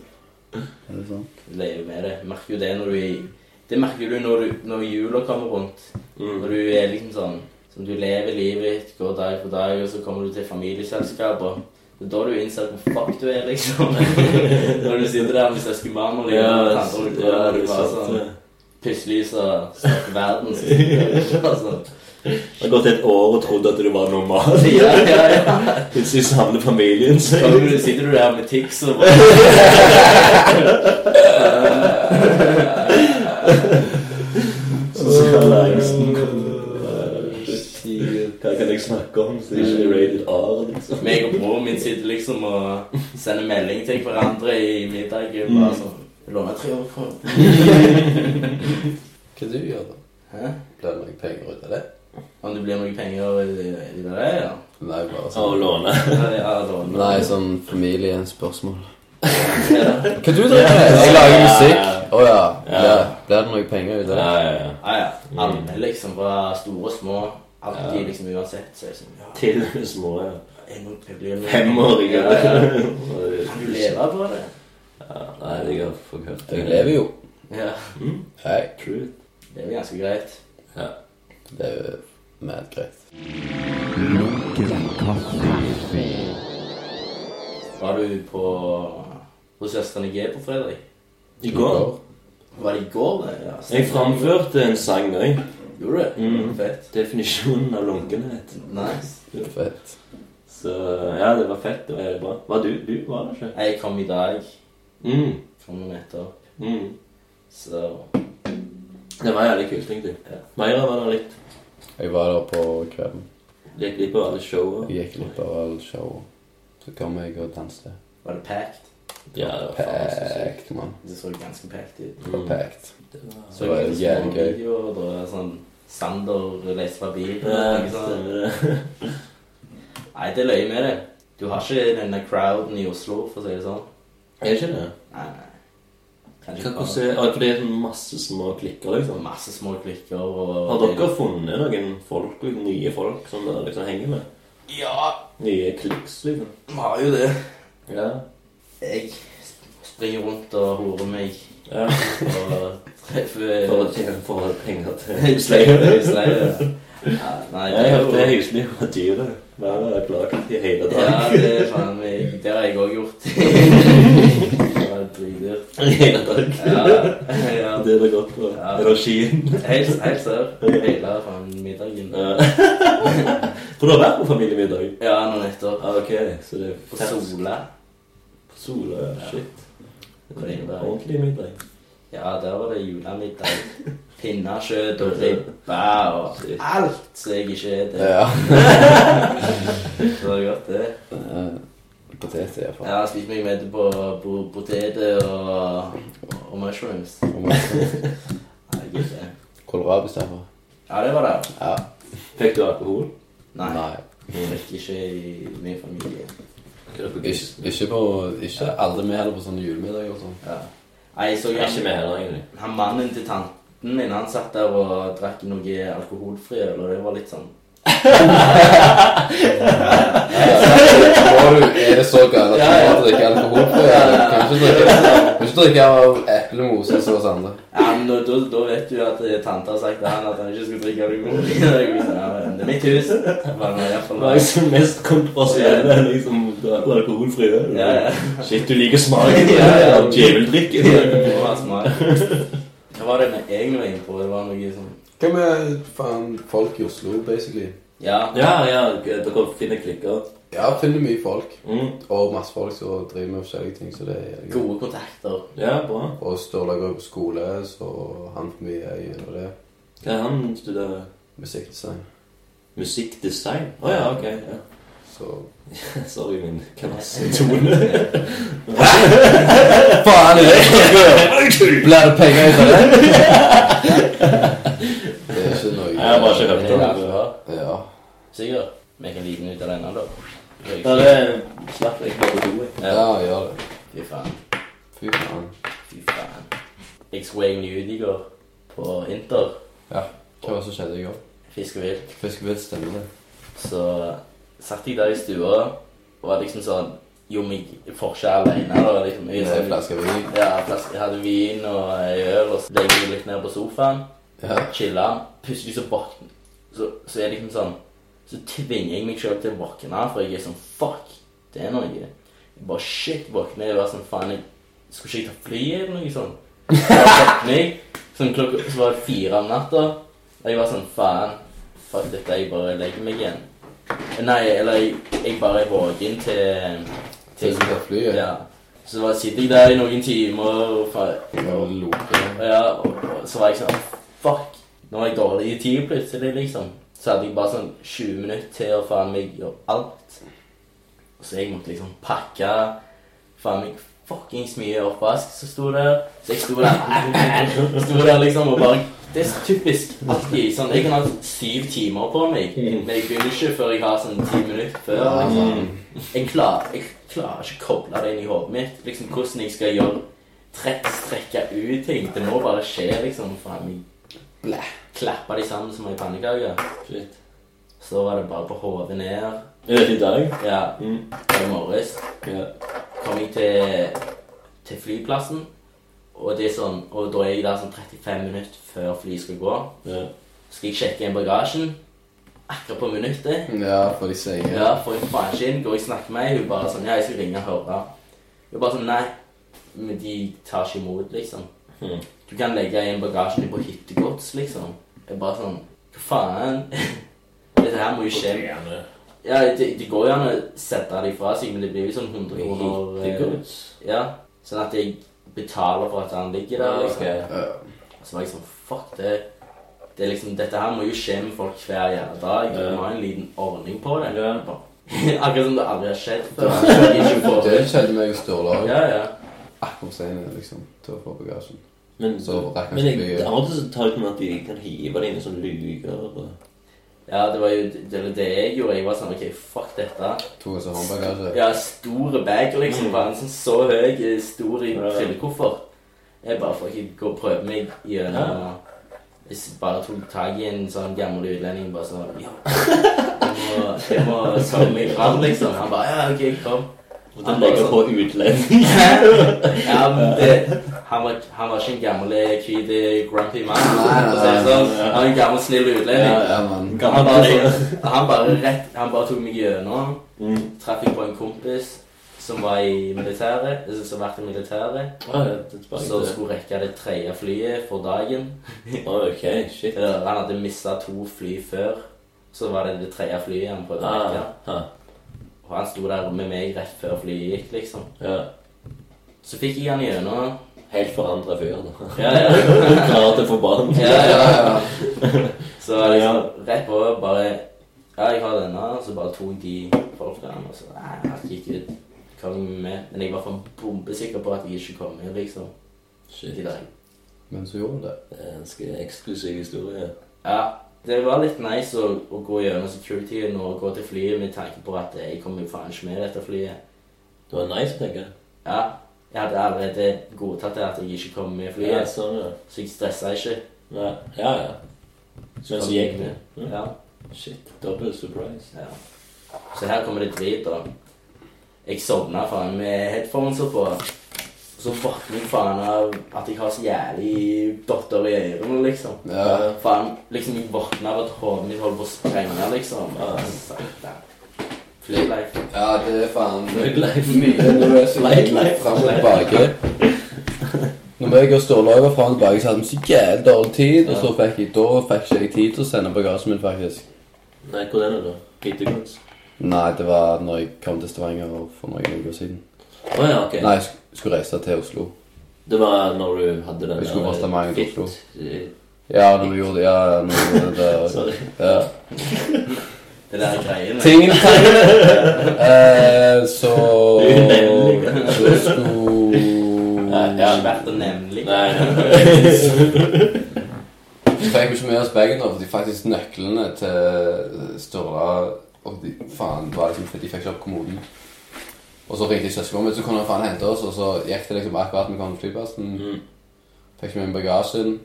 Speaker 2: Er det sant?
Speaker 3: du lever med det. Merker jo det når du er i- Det merker du når, du når jula kommer rundt. Når
Speaker 1: Mm.
Speaker 3: du er liksom sånn Som du lever livet ditt, går dag for dag, og så kommer du til familieselskap, og det er da du innser hvor fuck du er, liksom. Når du sitter der med søskenbarn og
Speaker 1: Ja,
Speaker 3: liksom,
Speaker 1: ja,
Speaker 3: tanter og
Speaker 1: det
Speaker 3: brødre, og
Speaker 1: er
Speaker 3: du bare
Speaker 1: sant.
Speaker 3: sånn
Speaker 1: det.
Speaker 3: Plutselig så snakker verden så sitter du der, altså.
Speaker 1: Jeg har gått et år og trodd at du var normal.
Speaker 3: Ja, ja, ja.
Speaker 1: Plutselig savner familien
Speaker 3: Så
Speaker 1: seg.
Speaker 3: du- sitter du der med tics og bare
Speaker 1: Sosial angsten Hva kan jeg snakke om? Så det er ikke rated R, liksom.
Speaker 3: Meg og broren min sitter liksom og sender melding til hverandre i middagen. Bare sånn Låner 300 kroner.
Speaker 2: Hva du gjør da?
Speaker 3: Hæ?
Speaker 2: Blir det noe penger ut av det?
Speaker 3: Om det blir noe penger i i det der, ja.
Speaker 2: Nei, bare
Speaker 1: Å
Speaker 2: sånn
Speaker 1: låne.
Speaker 3: Ja, ja, da-
Speaker 2: Nei, sånn familiespørsmål.
Speaker 3: Ja,
Speaker 2: Hva du driver med? Jeg lager musikk. Å ja.
Speaker 1: Ja.
Speaker 2: ja. Blir det noe penger ut av
Speaker 1: Ja,
Speaker 2: det?
Speaker 1: ja, Mm. ja.
Speaker 3: ja. Alle liksom fra store og små. Alltid liksom uansett. Så jeg sånn Ja,
Speaker 1: Til og med små ja.
Speaker 3: jeg må jeg blir
Speaker 1: femåringer.
Speaker 3: Ja, ja. Kan du
Speaker 1: Ja,
Speaker 3: leve på det?
Speaker 1: Nei, jeg har fått hørt det.
Speaker 2: Jeg lever jo.
Speaker 3: Ja.
Speaker 1: Mm.
Speaker 2: Nei,
Speaker 1: Truth.
Speaker 3: Det er jo ganske greit.
Speaker 1: Ja.
Speaker 2: det er jo mad greit.
Speaker 3: Var du på hos søstrene G på fredag?
Speaker 1: I går
Speaker 3: Var det i går, det? Ja.
Speaker 1: Jeg framførte en sang òg.
Speaker 3: Gjorde du det?
Speaker 1: Mm.
Speaker 3: Fett.
Speaker 1: Definisjonen av lunkenhet.
Speaker 3: Nice.
Speaker 2: Fett.
Speaker 1: Så ja, det var fett. Det var jævlig bra. Var du? Du var det ikke?
Speaker 3: Jeg kom i dag.
Speaker 1: Mm.
Speaker 3: Kom jo nettopp.
Speaker 1: Mm.
Speaker 3: Så
Speaker 1: Det var jævlig kult, egentlig.
Speaker 3: Ja.
Speaker 1: Meira var der litt.
Speaker 2: Jeg var der på kvelden.
Speaker 1: Gikk litt på alle showa.
Speaker 2: Jeg gikk litt av alle show. Så kom jeg og danset.
Speaker 3: var det packed.
Speaker 1: Ja, det var faen så sykt.
Speaker 2: Packed, mann.
Speaker 3: Det så ganske packed ut.
Speaker 2: Det var
Speaker 1: Mm.
Speaker 2: packed.
Speaker 1: Det var-
Speaker 3: Så
Speaker 2: Det var
Speaker 3: jeg
Speaker 2: jævlig
Speaker 3: små
Speaker 2: gøy.
Speaker 3: videoer, og det var sånn Sander reiser fra bilen.
Speaker 1: Ja,
Speaker 3: ikke sant?
Speaker 1: stemmer det.
Speaker 3: Nei, det er løye med det. Du har ikke denne crowden i Oslo, for å si det sånn.
Speaker 1: Er ikke det?
Speaker 3: Nei, nei.
Speaker 1: Hva
Speaker 3: Kanskje
Speaker 1: kan
Speaker 3: bare
Speaker 1: se? Ja, for det er sånn masse små klikker, liksom.
Speaker 3: masse små klikker og
Speaker 1: Har dere funnet noen folk, liksom, nye folk som dere liksom henger med?
Speaker 3: Ja,
Speaker 1: Nye kliks, liksom?
Speaker 3: vi har jo det.
Speaker 1: Ja.
Speaker 3: Jeg springer rundt og horer meg
Speaker 1: ja.
Speaker 3: og treffer
Speaker 1: For å tjene for å ha penger til
Speaker 3: Husleie.
Speaker 1: husleie.
Speaker 3: Ja, nei, det
Speaker 1: Jeg
Speaker 3: er
Speaker 1: hørte
Speaker 3: jo
Speaker 1: husleie var dyre. Været er plaget i hele
Speaker 3: Ja,
Speaker 1: dag.
Speaker 3: det er faen meg Det har jeg òg gjort. Det var dritdyrt.
Speaker 1: I hele dag.
Speaker 3: Ja. ja.
Speaker 1: Det er det godt for.
Speaker 3: Ja.
Speaker 1: Energien.
Speaker 3: Helt helt sør. Hele faen middagen.
Speaker 1: Ja. For du har vært på familiemiddag?
Speaker 3: Ja, nå nettopp.
Speaker 1: Ja, ok, så det er
Speaker 3: På
Speaker 1: fersk
Speaker 3: Sola.
Speaker 1: sol og shit.
Speaker 3: På det er jo
Speaker 1: Ordentlig middag.
Speaker 3: Ja, der var det julemiddag. Pinnekjøtt og ribbe og alt som jeg ikke spiser.
Speaker 2: Ja.
Speaker 3: Det var godt, det.
Speaker 2: Eh, Potet i hvert fall.
Speaker 3: Jeg har spist meg med på po- poteter og, og mushrooms.
Speaker 2: Og masse
Speaker 3: Herregud, det.
Speaker 2: Kålrabi, i stedet for.
Speaker 3: Ja, det var det.
Speaker 2: Ja.
Speaker 1: Fikk du alkohol?
Speaker 3: Nei.
Speaker 2: Nei.
Speaker 1: Mm.
Speaker 3: Drikker ikke i min familie.
Speaker 1: Hva er det for
Speaker 2: Ikke,
Speaker 1: gris?
Speaker 2: ikke på Ikke aldri med heller på sånne julemiddager og sånn.
Speaker 3: Ja. Nei, så
Speaker 1: Jeg er ikke med heller, egentlig.
Speaker 3: Han mannen til tanten min, han satt der og drakk noe alkoholfri øl, og det var litt sånn
Speaker 2: Må du, er det så galt at du må drikke alkohol på? Eller? Kan du ikke drikke, kan du ikke drikke av eplemos og så hos andre?
Speaker 3: Ja, men da, da, da vet du at eh, tante har sagt til han at han ikke skulle drikke alkohol. Jeg sa, sånn, ja, men Det er mitt hus. Var det i hvert fall-
Speaker 1: Hva er det mest kontroversielle? Liksom, du har alkoholfri øl?
Speaker 3: Ja, ja.
Speaker 1: Shit, du liker smaken
Speaker 3: Ja, ja.
Speaker 1: av djeveldrikk?
Speaker 3: Det var smak. Hva var det vi egentlig var inne på? Det var noe sånn
Speaker 2: Hva med faen, folk i Oslo, basically?
Speaker 3: Ja.
Speaker 1: Ja, ja, dere finner klikker.
Speaker 2: Ja, finner mye folk.
Speaker 1: Mm.
Speaker 2: Og masse folk som driver med forskjellige ting. Så det er gøy.
Speaker 3: Gode kontakter.
Speaker 1: Ja, bra.
Speaker 2: Og Ståle går på skole, så han for mye er gjennom det.
Speaker 1: Hva er han studerer?
Speaker 2: Musikkdesign.
Speaker 1: Musikkdesign? Å ja, ok. Ja.
Speaker 2: Så
Speaker 1: Sorry, min kvassentone.
Speaker 2: Faen, er det Blir det penger ut av det? Det er ikke noe
Speaker 1: Nei, jeg har bare ikke hørt
Speaker 3: Det er
Speaker 1: om det.
Speaker 3: bra.
Speaker 2: Ja.
Speaker 3: Sikkert. Vi kan lide ut av denne, da.
Speaker 1: Ja, det slapp jeg bare på do, jeg.
Speaker 2: ja, gjør det.
Speaker 3: Fy faen.
Speaker 2: Fy faen.
Speaker 3: Fy faen. Jeg skulle egentlig ut i går på Inter.
Speaker 2: Hva var det som skjedde i går?
Speaker 3: Fisk og vilt.
Speaker 2: Fiskevilt stemmer det.
Speaker 3: Så satt jeg der i stua og var liksom sånn Jo, men jeg får ikke alene, da. Liksom. Jeg,
Speaker 2: Det
Speaker 3: er
Speaker 2: er
Speaker 3: sånn-
Speaker 2: flaske vin.
Speaker 3: ja, flaske- jeg hadde vin og ei øl, og så legger jeg meg litt ned på sofaen.
Speaker 2: Ja.
Speaker 3: chilla, plutselig så våkner så, så er jeg liksom sånn Så tvinger jeg meg sjøl til å våkne, for jeg er sånn Fuck, det er noe. Jeg bare shit våkner. Jeg var sånn Faen, jeg skulle ikke jeg ta fly eller noe sånt? Så bare våkner jeg, sånn klokka Så var det fire om natta, og jeg var sånn Faen, fuck dette, jeg bare legger meg igjen. Nei, eller jeg, jeg bare er våken til,
Speaker 2: Til
Speaker 3: til
Speaker 2: som tar flyet.
Speaker 3: Ja. Så bare sitter jeg der i noen timer og faen,
Speaker 2: Det var lope.
Speaker 3: ja, og og så var jeg sånn Fuck, nå er jeg dårlig i tid plutselig, liksom. Så hadde jeg bare sånn 20 minutter til å faen meg gjøre alt. Og så jeg måtte liksom pakke faen meg fuckings mye oppvask som sto der. Så jeg sto der, sto der liksom og bare Det er så typisk alltid sånn Jeg kan ha syv timer på meg, men jeg begynner ikke før jeg har sånn ti minutter før.
Speaker 2: Ja,
Speaker 3: liksom
Speaker 1: Mm.
Speaker 2: faen.
Speaker 3: jeg klarer, jeg klarer ikke å koble det inn i hodet mitt. Liksom Hvordan jeg skal gjøre trekk, strekke ut ting. Det må bare skje, liksom. Faen, jeg
Speaker 2: Blæh.
Speaker 3: klappa de sammen som ei pannekake.
Speaker 1: Shit.
Speaker 3: Så var det bare på hodet ned.
Speaker 1: Er dette i dag?
Speaker 3: Ja,
Speaker 1: Mm.
Speaker 3: i morges
Speaker 1: Ja.
Speaker 3: kom jeg til, til flyplassen. Og, det er sånn, og da er jeg der sånn 35 minutter før flyet skal gå.
Speaker 1: ja.
Speaker 3: Skal jeg sjekke inn bagasjen? Akkurat på minuttet.
Speaker 2: Ja, for de sier
Speaker 3: Ja, for en faen ikke inn. Går jeg og snakker med henne, hun bare sånn Ja, jeg skal ringe og høre. Hun bare sånn Nei, men de tar ikke imot, liksom.
Speaker 1: Mm.
Speaker 3: Du kan legge inn bagasjen din på hyttegods, liksom. Jeg bare sånn Hva faen? Dette her må jo skje. Ja, det, det går jo an å sette det ifra seg, men det blir jo sånn 100 kroner eh, Ja. Sånn at jeg betaler for at han ligger der, liksom.
Speaker 1: Ok.
Speaker 2: Ja.
Speaker 3: Og Så var jeg sånn Fuck det. det er liksom, dette her må jo skje med folk hver jævla dag. Du
Speaker 1: Ja.
Speaker 3: må ha en liten ordning på det.
Speaker 1: Ja.
Speaker 3: Bare- Akkurat som det aldri har skjedd før. Jeg ikke får
Speaker 2: Det
Speaker 3: det.
Speaker 2: skjedde meg og Ståle òg.
Speaker 3: Ja, ja.
Speaker 2: Akkurat senere, liksom. Til å få bagasjen.
Speaker 1: Men,
Speaker 2: Så rekker
Speaker 1: men jeg,
Speaker 2: ikke
Speaker 1: det
Speaker 2: flyet.
Speaker 1: av og til så tar jeg ut med at de kan hive det inn i sånn luker. og-
Speaker 3: ja, det var jo det, var det jeg gjorde. Jeg var sånn OK, fuck dette.
Speaker 2: To ganger sånn håndbagasje.
Speaker 3: Ja, store bag, liksom.
Speaker 1: Mm.
Speaker 3: Bare en sånn så høy, eh, stor i
Speaker 1: Ja.
Speaker 3: trillekoffert. Jeg bare får ikke gå og prøve meg
Speaker 1: Ja.
Speaker 3: gjennom Hvis jeg bare tok tak i en sånn gammel utlending bare sånn Ja, jeg må, jeg må sørge meg fram, liksom. Han bare Ja, OK, kom.
Speaker 1: Og den legger på utlending.
Speaker 3: Ja, men det, han, var, han var ikke en gammel, eh, hvit, eh, grumpy mann.
Speaker 2: Nei, nei,
Speaker 3: for å si det
Speaker 1: nei, nei,
Speaker 3: sånn.
Speaker 1: nei.
Speaker 3: Han var en gammel, snill utlending.
Speaker 2: Ja, mann.
Speaker 3: Han bare, sånn-
Speaker 1: Gammel.
Speaker 3: han bare, rett, han bare tok meg gjennom.
Speaker 1: Mm.
Speaker 3: Traff jeg på en kompis som var i militæret, eh, som vært i militæret.
Speaker 1: Ja, ja, det sparer
Speaker 3: Så
Speaker 1: jeg til.
Speaker 3: skulle rekke det tredje flyet for dagen.
Speaker 1: Ok, shit.
Speaker 3: Eh, Han hadde mista to fly før. Så var det det tredje flyet han prøvde å rekke.
Speaker 1: Ah, ah,
Speaker 3: Og han sto der med meg rett før flyet gikk, liksom.
Speaker 1: ja.
Speaker 3: Så fikk jeg han gjennom.
Speaker 1: Helt forandra fyr. da.
Speaker 3: Ja, ja.
Speaker 1: Klar til å få barn.
Speaker 3: Ja, ja, ja. Så
Speaker 1: Ja.
Speaker 3: liksom, rett på bare Ja, jeg har denne, og så bare tok de folkene, og så Nei, jeg gikk ut. Kom med. Men jeg var for bombesikker på at jeg ikke kom med, liksom.
Speaker 1: Shit.
Speaker 3: I dag.
Speaker 2: Men så gjorde hun det.
Speaker 1: Det er en ganske eksklusiv historie.
Speaker 3: Ja. det var litt nice å, å gå gjennom securityen og gå til flyet med tanke på at jeg kommer jo faen ikke med dette flyet.
Speaker 1: Det var nice, tenker jeg.
Speaker 3: Ja, jeg hadde allerede godtatt det at jeg ikke kom med
Speaker 1: Ja,
Speaker 3: flyet,
Speaker 1: sånn, ja.
Speaker 3: så jeg stressa ikke.
Speaker 1: Ja, ja. ja. Så så gikk det. Ja.
Speaker 3: Ja.
Speaker 1: Shit, double surprise.
Speaker 3: Ja. Så her kommer det drit, da. Jeg sovna faen med headphones på. Så våkner jeg faen av at jeg har så jævlig dotter i ørene, liksom.
Speaker 2: Ja.
Speaker 3: Faen, liksom Jeg våkner av at hodet mitt holder på å sprenge, liksom.
Speaker 1: Ja.
Speaker 3: Satan. Flylife.
Speaker 2: ja, det er faen
Speaker 1: Good life.
Speaker 2: mye
Speaker 1: Light life.
Speaker 2: fram og tilbake. Når jeg og Ståle var fram og tilbake, så hadde vi så jævlig dårlig tid. Og så fikk jeg, da fikk ikke jeg tid til å sende bagasjen min, faktisk.
Speaker 1: Nei, hvordan er det? Hittegods?
Speaker 2: Nei, det var når jeg kom til Stavanger for noen uker siden.
Speaker 1: Å ja, ok.
Speaker 2: Nei, jeg sk- skulle reise til Oslo.
Speaker 1: Det var når du hadde den
Speaker 2: Jeg skulle
Speaker 1: der, eh,
Speaker 2: fra Stavanger til
Speaker 1: fit-
Speaker 2: Ja, når du gjorde det. Ja, ja, når du gjorde det.
Speaker 1: Sorry.
Speaker 2: Ja.
Speaker 3: Det der greiene.
Speaker 2: Tingen eh, Så
Speaker 1: Unevnelig.
Speaker 2: Så skulle
Speaker 1: Ja,
Speaker 3: Det
Speaker 1: ja.
Speaker 3: har ikke vært å nevne, liksom.
Speaker 1: Nei, nei.
Speaker 2: Så fikk vi ikke med oss bagen, da, fordi faktisk nøklene til Sturla og de, faen, det var liksom, De fikk ikke opp kommoden. Og så ringte jeg søskenbarnet mitt, så kunne han faen hente oss, og så gikk det liksom akkurat vi kom til flyplassen.
Speaker 1: Mm.
Speaker 2: Fikk ikke med meg bagasjen.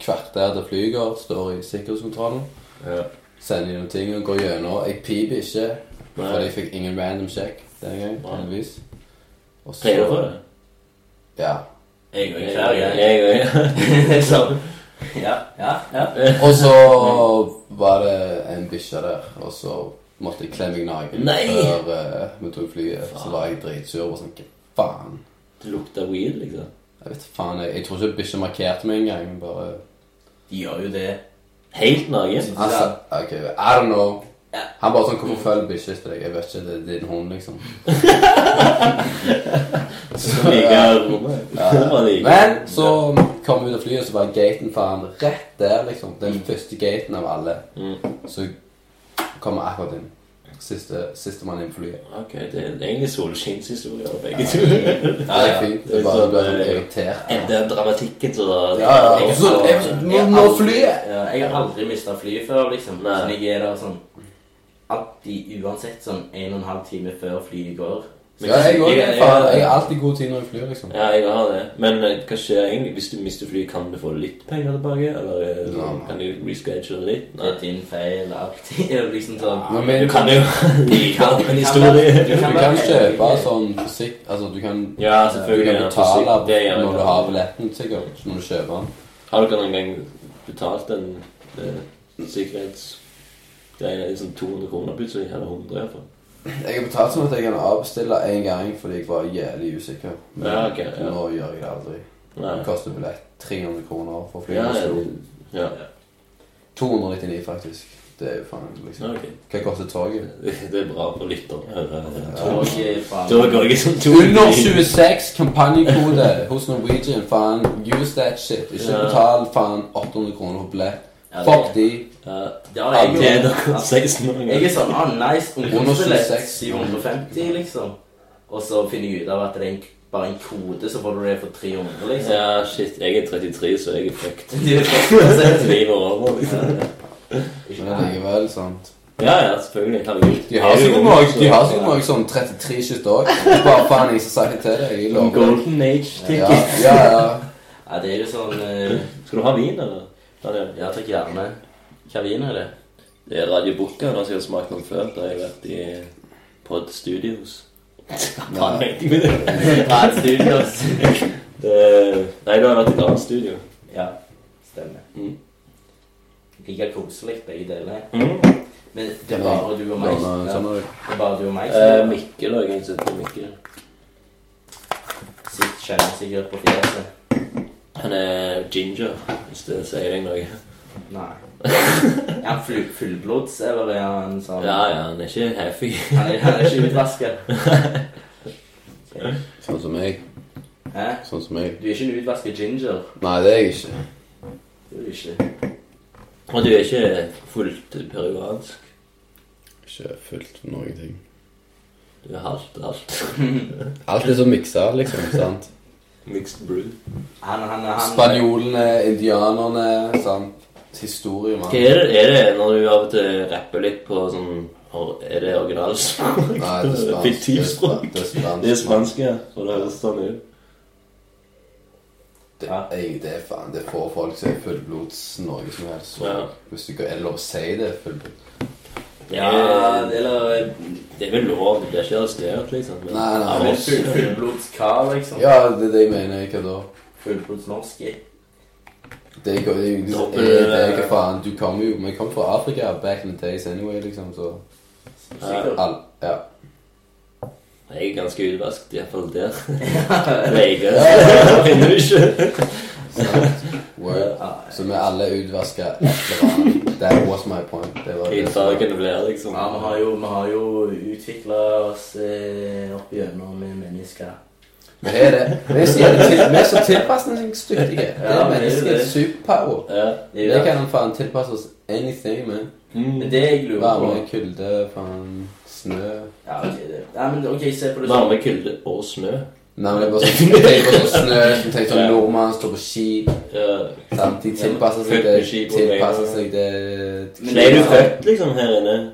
Speaker 2: Kvarter til flyger, står i sikkerhetskontrollen.
Speaker 1: Ja.
Speaker 2: Sender gjennom ting og går gjennom. Jeg piper ikke.
Speaker 1: Nei.
Speaker 2: Fordi jeg fikk ingen random check denne gangen,
Speaker 1: Nei.
Speaker 2: heldigvis. Og så-
Speaker 1: Pleier du for det?
Speaker 2: Ja.
Speaker 3: Jeg òg hver gang.
Speaker 1: Jeg òg.
Speaker 3: Sånn. Ja, ja, ja.
Speaker 2: Og så var det en bikkje der, og så måtte jeg klemme meg naken
Speaker 1: Nei!
Speaker 2: før eh, vi tok flyet. Så
Speaker 1: Faen.
Speaker 2: var jeg dritsur og sånn Hva faen?
Speaker 1: Det lukta weed, liksom.
Speaker 2: Jeg vet faen, jeg, jeg tror ikke bikkja markerte meg engang. Bare
Speaker 3: De gjør jo det.
Speaker 1: Helt naken?
Speaker 2: Han sa Altså, OK, I don't know.
Speaker 3: Ja.
Speaker 2: Han bare sånn Hvorfor følger bikkja etter deg? Jeg vet ikke, det er din hund, liksom.
Speaker 1: Som ikke er rommet. Det var det ikke.
Speaker 2: Men så kom vi ut av flyet, og så var gaten faen rett der, liksom. Den første gaten av alle.
Speaker 1: Mm.
Speaker 2: Så kommer akkurat inn. Siste Sistemann inn på flyet.
Speaker 1: Ok, det er egentlig solskinnshistorier begge to.
Speaker 2: Ja, det er fint. Det
Speaker 1: Det
Speaker 2: er
Speaker 1: er
Speaker 2: bare
Speaker 1: sånn,
Speaker 2: du blir sånn
Speaker 1: eh,
Speaker 2: irritert.
Speaker 1: Enda dramatikken så da
Speaker 2: Ja, ja. Og så- jeg- nå-
Speaker 3: Jeg har
Speaker 2: nå
Speaker 3: aldri-
Speaker 2: flyet!
Speaker 3: Ja, jeg har aldri mista flyet før, liksom.
Speaker 1: Nei.
Speaker 3: Så jeg er der sånn alltid uansett sånn en og en halv time før flyet går.
Speaker 2: Ja, jeg òg.
Speaker 1: jeg-
Speaker 2: Faen, jeg har alltid god tid når jeg flyr, liksom.
Speaker 1: Ja, jeg har det. Men eh, hva skjer egentlig? Hvis du mister flyet, kan du få litt penger tilbake? Eller eh,
Speaker 2: Nei.
Speaker 1: kan du reschedule det litt?
Speaker 3: Det er din feil alltid. er det Liksom sånn.
Speaker 2: Nå,
Speaker 1: Du
Speaker 2: men,
Speaker 1: kan jo like opp en historie.
Speaker 2: du kan kjøpe sånn forsikt Altså, du kan,
Speaker 1: Ja,
Speaker 2: du
Speaker 1: selvfølgelig.
Speaker 2: kan
Speaker 1: ja,
Speaker 2: betale
Speaker 1: forsikt, det gjør jeg.
Speaker 2: når du har billetten, sikkert. Når du kjøper den.
Speaker 1: Har dere noen gang betalt en eh, sikkerhets... Det er sånn 200 kroner plutselig, eller 100 i hvert fall.
Speaker 2: Jeg har betalt sånn at jeg kan avbestille én gang fordi jeg var jævlig usikker. Men
Speaker 1: Ja, ok, ja.
Speaker 2: nå gjør jeg det aldri.
Speaker 1: Nei.
Speaker 2: Det koster billett 300 kroner for å fly.
Speaker 1: Ja,
Speaker 2: til Oslo.
Speaker 1: ja, ja.
Speaker 2: 299 faktisk. Det er jo faen liksom.
Speaker 1: Ok.
Speaker 2: Hva koster toget?
Speaker 1: Det er bra for lytterne. å høre.
Speaker 3: Toget fra
Speaker 1: Da går jeg som to
Speaker 2: Under 26 kampanjekode hos Norwegian, faen. Use that shit. Ikke
Speaker 1: Ja.
Speaker 2: betal faen 800 kroner for billett.
Speaker 3: Ja, det-
Speaker 2: Fuck de.
Speaker 1: Ja,
Speaker 3: Det har jeg
Speaker 1: det er
Speaker 3: gjort.
Speaker 1: dere 16 år
Speaker 3: Jeg er sånn ah, nice ungdomsbillett.
Speaker 2: 176.
Speaker 3: 750, liksom. Og så finner jeg ut av at det er en, bare en kode, så får du det for 300, liksom.
Speaker 1: Ja, shit. Jeg er 33, så jeg er fucked.
Speaker 3: Du er faktisk-
Speaker 1: Livet er over, liksom.
Speaker 2: Men det er likevel sant.
Speaker 1: Ja, ja, selvfølgelig. Herregud.
Speaker 2: De har sikkert mange, de har sikkert mange sånn 33 shit òg. Bare faen jeg som sa det til deg. Jeg lover.
Speaker 1: Golden Age
Speaker 2: Ja,
Speaker 1: ticket.
Speaker 2: ja, ja.
Speaker 3: Ja, det er jo sånn eh,
Speaker 1: Skal du ha vin, eller? Daniel?
Speaker 3: Ja, takk gjerne. Hva vin er det?
Speaker 1: Det er Radio Bukka, da, som jeg har smakt noe før. Da har jeg vært i Pod Studios. Ta
Speaker 2: Nei.
Speaker 1: meg med det.
Speaker 3: Ta et studio.
Speaker 1: Det- Nei, du har vært i et annet studio.
Speaker 3: Ja, stemmer.
Speaker 1: Mm.
Speaker 3: Like koselig, begge deler.
Speaker 1: Mm.
Speaker 3: Men det er bare du og meg.
Speaker 2: Sånn,
Speaker 3: Ja,
Speaker 2: sånn er det.
Speaker 3: Det er bare du og meg.
Speaker 1: Eh,
Speaker 3: som-
Speaker 1: Mikkel har jeg en sønn til Mikkel.
Speaker 3: Sitt kjenner sikkert på fjeset.
Speaker 1: Han er ginger, hvis det sier deg noe.
Speaker 3: Nei. Er han full, fullblods, eller er han sånn
Speaker 1: Ja, ja, han er ikke happy.
Speaker 3: Han, er, han er ikke utvaska?
Speaker 2: Sånn som meg.
Speaker 3: Hæ?
Speaker 2: Sånn som meg.
Speaker 3: Du er ikke en utvaska ginger.
Speaker 2: Nei, det er jeg ikke.
Speaker 3: Det er du ikke.
Speaker 1: Og du er ikke fullt peruansk.
Speaker 2: Ikke fullt noen ting.
Speaker 1: Du er halvt, halvt.
Speaker 2: Alt er så miksa, liksom. sant?
Speaker 1: Mixed brew.
Speaker 3: Han, han, han,
Speaker 2: Spanjolene, indianerne, sant? historie, mann.
Speaker 1: Hva er det, er det når du av og til rapper litt på sånn or- Er det originalspråk?
Speaker 2: Nei, det er spansk.
Speaker 1: Fiktivspråk.
Speaker 2: Det er spansk.
Speaker 1: Det er spansk, ja. Og det høres sånn ut.
Speaker 2: Det, jeg, det er faen, det er få folk som er fullblods Norge som helst. Så,
Speaker 1: Ja.
Speaker 2: Hvis du ikke er lov å si det fullblod.
Speaker 1: Det
Speaker 3: Ja,
Speaker 1: er,
Speaker 3: eller
Speaker 1: det er vel lov, det blir ikke arrestert, liksom. Men
Speaker 2: Nei, nei,
Speaker 1: av
Speaker 2: men
Speaker 1: oss-
Speaker 3: full, fullblods hva, liksom?
Speaker 2: Ja, det er det jeg mener. Hva da?
Speaker 3: Fullblods norsk. i.
Speaker 2: Det er ikke det er jo ikke
Speaker 1: Dobbel-
Speaker 2: sånn, eh, det er ikke faen. Du kommer jo Vi kommer fra Afrika back in the days anyway, liksom, så
Speaker 3: Sikkert.
Speaker 2: all, Ja.
Speaker 1: Jeg er ganske utvasket, iallfall der. Leger finner du ikke.
Speaker 2: sant. Word.
Speaker 3: Ja,
Speaker 2: Så vi alle er utvaska etter hverandre. That was my point. Det var
Speaker 1: I
Speaker 2: det som var-
Speaker 1: fargen det blir, liksom.
Speaker 3: Ja, vi har jo, vi har jo utvikla oss eh, opp igjennom med mennesker.
Speaker 2: Vi er det. Vi er så, jævlig til, vi er så tilpasningsdyktige. Det
Speaker 3: Ja, vi er
Speaker 2: er menneskets
Speaker 3: det.
Speaker 2: superpower.
Speaker 1: Ja.
Speaker 3: Det er
Speaker 2: Vi
Speaker 3: jo det.
Speaker 2: kan faen tilpasse oss anything, man.
Speaker 3: Men
Speaker 1: Mm.
Speaker 3: det jeg lurer på
Speaker 2: Varme, kulde, faen, snø
Speaker 3: Ja, ok, det. Nei, men ok, se på det sånn.
Speaker 1: Varme, kulde og snø.
Speaker 2: Nei, men det er bare sånn Jeg tenker på sånn snø, jeg tenker sånn nordmann står på ski
Speaker 1: Ja.
Speaker 2: sant? De tilpasser seg det Tilpasser seg det
Speaker 3: Men
Speaker 1: Ble du født liksom her inne?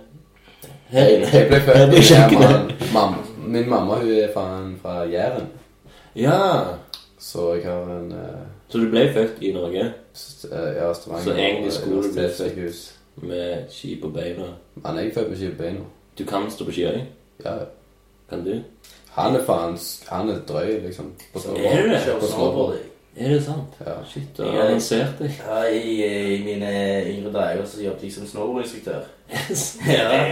Speaker 1: Her inne?
Speaker 2: Jeg ble født i Jæren. Min mamma hun er faen fra Jæren,
Speaker 1: Ja.
Speaker 2: så jeg har en eh,
Speaker 1: Så du ble født i Norge
Speaker 2: st- eh, Ja, Stavanger
Speaker 1: Så egentlig skulle du bli
Speaker 2: universitetssykehus.
Speaker 1: med ski på beina?
Speaker 2: Han er ikke født med ski på beina.
Speaker 1: Du kan stå på ski òg?
Speaker 2: Ja,
Speaker 1: Kan du?
Speaker 2: han er faen s- Han er drøy, liksom. På
Speaker 3: Så
Speaker 2: snowboard.
Speaker 1: Er det det?
Speaker 3: kjører
Speaker 2: På snowboard.
Speaker 3: snowboard, jeg.
Speaker 1: Er det sant?
Speaker 2: Ja.
Speaker 1: Shit, du har avansert deg.
Speaker 3: Ja, i, eh, I mine yngre dager så jobbet jeg som snowboardinstruktør.
Speaker 1: Yes.
Speaker 3: Ja.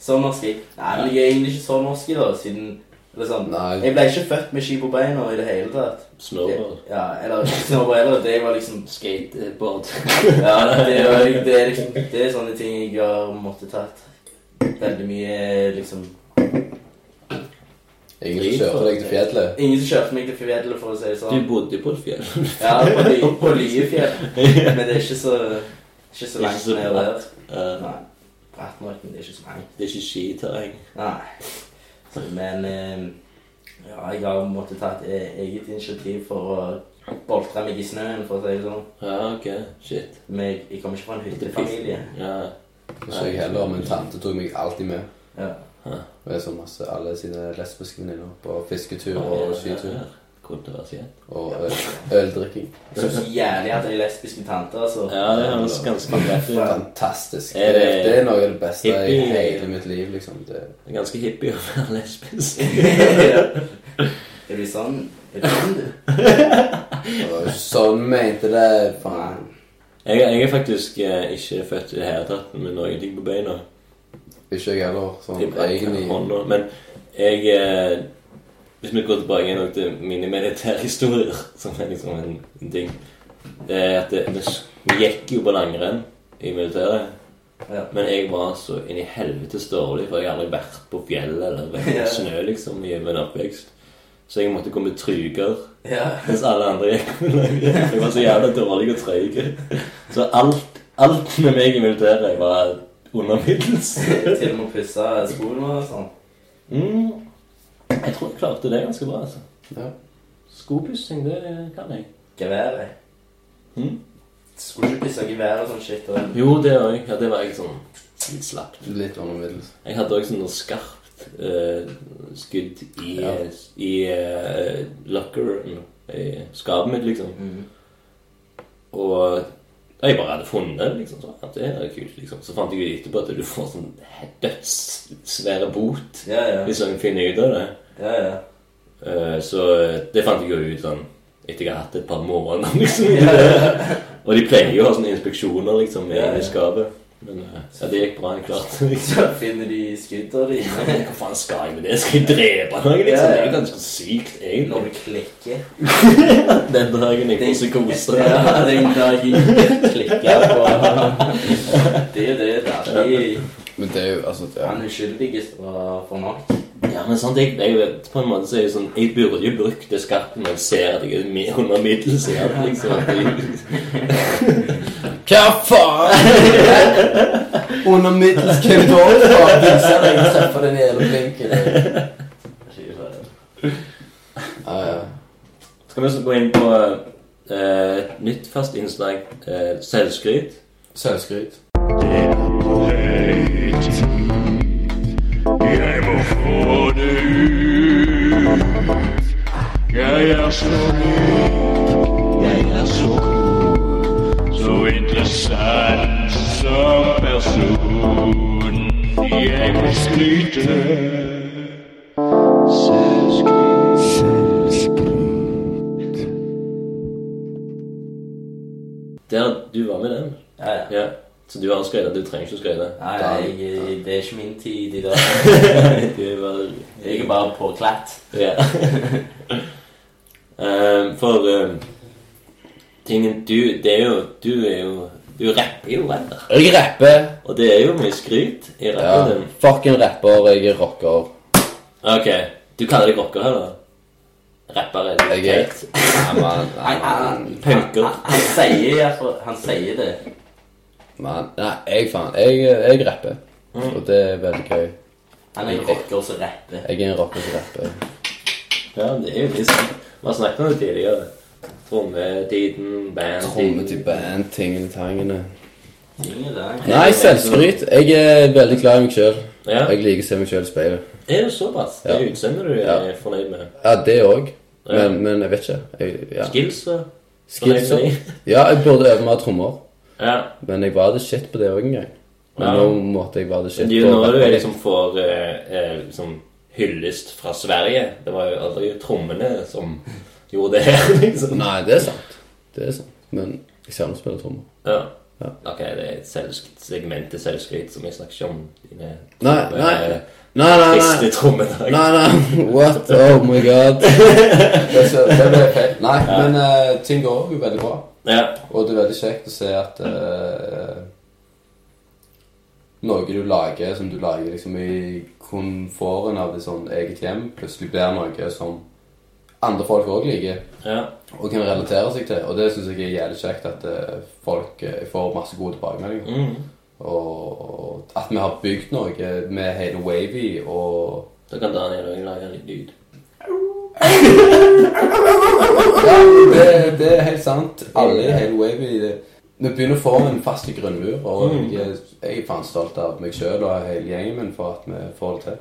Speaker 3: Sommerski. Nei, men jeg er egentlig ikke så norsk i da, siden eller sånn.
Speaker 2: Nei,
Speaker 3: Jeg ble ikke født med ski på beina i det hele tatt.
Speaker 1: Snowboard.
Speaker 3: Ja, eller ikke snowboard eller det var liksom
Speaker 1: Skateboard.
Speaker 3: Ja, det er, det er liksom Det er sånne ting jeg har måttet tatt. Veldig mye liksom
Speaker 2: ingen som kjørte deg til fjellet.
Speaker 3: Ingen som kjørte meg til fjellet, for å si det
Speaker 1: Du
Speaker 3: sånn.
Speaker 1: bodde på et fjell.
Speaker 3: Ja, på, Ly- på Lyefjell. Men det er ikke så Ikke så langt
Speaker 1: Ikke så
Speaker 3: ned der.
Speaker 1: Eh,
Speaker 3: Nei. Bratt nok, men det er ikke så langt.
Speaker 1: det er ikke skiterreng.
Speaker 3: Nei. Så, men eh, ja, jeg har måttet ta et e- eget initiativ for å boltre meg i snøen, for å si det sånn.
Speaker 1: Ja, ok. Shit.
Speaker 3: Men jeg, jeg kommer ikke fra en hyttefamilie.
Speaker 1: Ja.
Speaker 2: Ikke jeg heller, men tante tok meg alltid med.
Speaker 3: Ja.
Speaker 2: Og jeg så masse alle sine lesbiske venninner på fisketur
Speaker 1: Ja,
Speaker 2: og
Speaker 1: ja,
Speaker 2: skitur
Speaker 1: ja. Kontroversielt.
Speaker 2: og øl- øldrikking.
Speaker 3: Jeg synes så jævlig at jeg er lesbisk med tante, altså.
Speaker 1: Ja, det høres ganske rett ut.
Speaker 2: Fantastisk.
Speaker 1: Er
Speaker 2: Det,
Speaker 1: det-
Speaker 2: det er noe av det beste i
Speaker 1: Hippie?
Speaker 2: hele mitt liv, liksom. Det,
Speaker 1: Det er ganske hippie å være lesbisk.
Speaker 3: er du sånn? Er du sånn, du?
Speaker 2: det var jo ikke sånn mente det. Faen.
Speaker 1: Jeg, jeg er faktisk eh, ikke født i det hele tatt med noen ting på beina.
Speaker 2: Ikke jeg heller. Sånn
Speaker 1: Jeg brakk
Speaker 2: egentlig.
Speaker 1: hånda. Men jeg eh, Hvis vi går tilbake igjen til mine militærhistorier, som er liksom en, en ting Det er at det, vi s- vi gikk jo på langrenn i militæret.
Speaker 3: Ja.
Speaker 1: Men jeg var så inn i helvetes dårlig, for jeg har aldri vært på fjellet eller vært
Speaker 3: Ja.
Speaker 1: på snø liksom i min oppvekst. Så jeg måtte gå med truger.
Speaker 3: Ja.
Speaker 1: Mens alle andre gikk med lange. Jeg var så jævla dårlig og treig. Så alt, alt med meg i militæret var under middels.
Speaker 3: Til og med å pusse skoene og sånn.
Speaker 1: Mm. Jeg tror jeg klarte det ganske bra. altså.
Speaker 2: Ja.
Speaker 1: Skopussing, det kan jeg.
Speaker 3: Geværet. Hm?
Speaker 1: Mm.
Speaker 3: Skulle ikke pusse geværet og sånn shit. Og...
Speaker 1: Jo, det òg. Ja, det var jeg sånn litt slapp.
Speaker 2: Litt under middels.
Speaker 1: Jeg hadde òg sånn noe skarpt eh, skudd i,
Speaker 2: Ja.
Speaker 1: i eh, lockeren, i skapet mitt, liksom.
Speaker 3: Mm.
Speaker 1: Og jeg bare hadde funnet liksom, så, at det er kult, liksom. Så fant jeg ut etterpå at du får sånn dødssvære bot
Speaker 3: Ja, ja.
Speaker 1: hvis noen finner ut av det.
Speaker 3: Ja, ja.
Speaker 1: Eh, Så det fant jeg jo ut sånn etter jeg har hatt et par måneder, liksom.
Speaker 3: Ja,
Speaker 1: Og de pleier jo å ha sånne inspeksjoner liksom,
Speaker 3: Ja, ja.
Speaker 1: inne i skapet. Men eh, ja, det gikk bra, jeg klarte liksom.
Speaker 3: Så finner de skuddene dine.
Speaker 1: Hva faen skal jeg med det? Skal jeg drepe noen? Liksom?
Speaker 3: Ja, ja.
Speaker 1: Det er jo ganske sykt, egentlig.
Speaker 3: Når du klikker
Speaker 1: Den liksom, dagen jeg får psykose.
Speaker 3: Ja, den dagen jeg klikker på Det er det der de-
Speaker 2: Men det er jo altså det
Speaker 3: Han
Speaker 2: er,
Speaker 3: uskyldige var for nok.
Speaker 1: Ja, men sant, jeg, jeg vet, på en måte så er det sånn Jeg burde jo brukt det skarpt når jeg ser at jeg er mi- under middels. ja, Liksom, at jeg-
Speaker 2: Hva faen? under middels hvem da? Faen, du ser deg treffe den jævla blinken. Ja, ja.
Speaker 1: Skal vi også gå inn på eh, et nytt fast innslag, eh, selvskryt?
Speaker 2: Selvskryt.
Speaker 4: Jeg må få det ut. Jeg er så rik, jeg er så god, så interessant som person. Jeg må skryte. Selvskryt.
Speaker 1: Der, du var med den.
Speaker 3: Ja, ja.
Speaker 1: Ja. Så du har skrevet. Du trenger ikke å skrive.
Speaker 3: Nei, jeg, jeg, det er ikke min tid i dag.
Speaker 1: Du er bare
Speaker 3: Jeg er bare på klatt.
Speaker 1: Ja. Ehm, for ehm, tingen du Det er jo Du er jo Du rapper jo ennå.
Speaker 2: Jeg rapper.
Speaker 1: Og det er jo mye skryt i
Speaker 2: Ja.
Speaker 1: rappen din.
Speaker 2: Fucking rapper. Jeg er rocker.
Speaker 1: Ok. Du kaller deg rocker, eller? Rapper er
Speaker 2: Jeg er Nei, man, nei, man,
Speaker 1: Punker.
Speaker 3: Han, han sier i hvert fall Han sier det.
Speaker 2: man. Mm. nei, jeg faen. Jeg, jeg rapper. Og det er veldig gøy.
Speaker 3: Han er en rocker som rapper.
Speaker 2: Jeg er en rocker som rapper.
Speaker 1: Ja, det er jo litt sånn. Vi har snakket om det tidligere. Trommetiden, bandtiden
Speaker 2: Tromme til band, tingeltangene.
Speaker 3: Ingen dag.
Speaker 2: Nei, selvskryt. Jeg er veldig glad i meg sjøl.
Speaker 1: Ja.
Speaker 2: Jeg liker å se meg sjøl i speilet.
Speaker 1: Er det såpass? Det er
Speaker 2: Ja.
Speaker 1: utseendet du er
Speaker 2: Ja.
Speaker 1: fornøyd med?
Speaker 2: Ja, det òg.
Speaker 1: Ja.
Speaker 2: Men, men jeg vet ikke. Jeg, ja.
Speaker 1: Skills? da?
Speaker 2: Skills
Speaker 1: Fornøyd med
Speaker 2: opp. Ja, jeg burde øve mer trommer.
Speaker 1: Ja.
Speaker 2: Men jeg var det shit på det òg en gang. Men
Speaker 1: Ja.
Speaker 2: nå måtte jeg være det shit
Speaker 1: Men det er jo
Speaker 2: på
Speaker 1: nå du
Speaker 2: rapping.
Speaker 1: liksom får eh, eh, liksom hyllest fra Sverige. Det var jo aldri trommene som gjorde det her, liksom.
Speaker 2: Nei, det er sant. Det er sant. Men jeg savner å spille trommer.
Speaker 1: Ja.
Speaker 2: Ja.
Speaker 1: Ok, det er et selvsk- segment til selvskryt som jeg snakker ikke om. Dine
Speaker 2: Nei,
Speaker 1: tromme-
Speaker 2: nei, nei, nei, nei.
Speaker 1: Triste eh, trommedag.
Speaker 2: Nei, nei, what? Oh my god. Det ser- det ble feil. Nei, men eh, ting går jo veldig bra.
Speaker 1: Ja.
Speaker 2: Og det er veldig kjekt å se at eh, noe du lager, som du lager liksom i komforten av ditt sånn eget hjem, plutselig blir noe som andre folk òg liker.
Speaker 1: ja.
Speaker 2: og kan relatere seg til. Og det syns jeg er jævlig kjekt at eh, folk eh, får masse gode tilbakemeldinger.
Speaker 1: Mm.
Speaker 2: Og at vi har bygd noe eh, med hele Wavy og
Speaker 1: Da kan Daniel også lage en liten lyd.
Speaker 2: det, det er helt sant. Alle i hele Wavy det- Vi begynner å få en fast grunnmur, og
Speaker 1: Mm.
Speaker 2: jeg, er- jeg er faen stolt av meg sjøl og hele gjengen min for at vi får det til.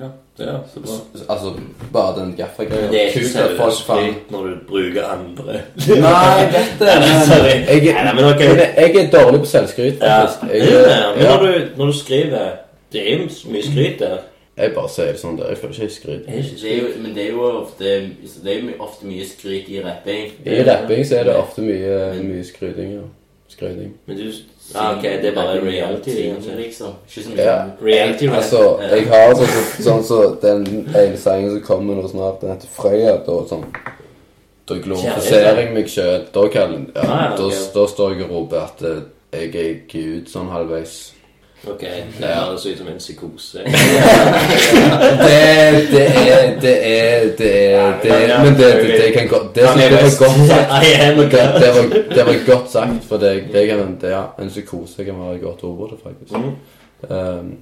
Speaker 1: Ja, ja, så bra.
Speaker 2: S- Altså, bare den gaffagreia.
Speaker 1: Det er ikke
Speaker 2: Kult at folk faen
Speaker 1: selvskryt når du bruker andre.
Speaker 2: Nei, jeg vet det.
Speaker 1: Sorry.
Speaker 2: Men jeg,
Speaker 1: Nei, nei, men ok.
Speaker 2: men jeg er dårlig på selvskryt,
Speaker 1: Ja.
Speaker 2: faktisk.
Speaker 1: Det er jo det, Men når du, når du skriver Det er jo mye skryt der.
Speaker 2: Jeg bare sier det sånn der. Jeg føler ikke jeg skryter.
Speaker 1: Er det ikke
Speaker 3: Det er jo, men det er jo ofte Det er jo my- ofte mye skryt i rapping.
Speaker 2: I rapping så er det ofte mye, mye skryting. Ja. Skryting.
Speaker 1: Men du ah, Ok, det er bare
Speaker 3: Rapping,
Speaker 1: reality.
Speaker 3: ting,
Speaker 1: egentlig.
Speaker 3: liksom. Ikke så mye
Speaker 2: Ja.
Speaker 1: Reality rap.
Speaker 2: Altså, jeg har sånn som sånn, så den ene sangen som kommer nå snart, den heter Frøya. Da sånn Da glorifiserer jeg meg sjøl. Da, kan- ja,
Speaker 1: Ah, ja,
Speaker 2: da,
Speaker 1: ok.
Speaker 2: da står jeg og roper at eh, jeg er gud sånn halvveis.
Speaker 1: Ok, Det
Speaker 2: Ja.
Speaker 1: høres ut som en psykose.
Speaker 2: Det, det er Det er Det er det er, Men det, det, det kan godt Det,
Speaker 1: Han
Speaker 2: det,
Speaker 1: er
Speaker 2: det var
Speaker 1: best.
Speaker 2: godt sagt.
Speaker 1: I am a
Speaker 2: Det,
Speaker 1: Oh god.
Speaker 2: det, var, det var godt sagt, for det, det kan, det, ja, en psykose kan være et godt ord på det, faktisk.
Speaker 1: Mhm.
Speaker 2: Um,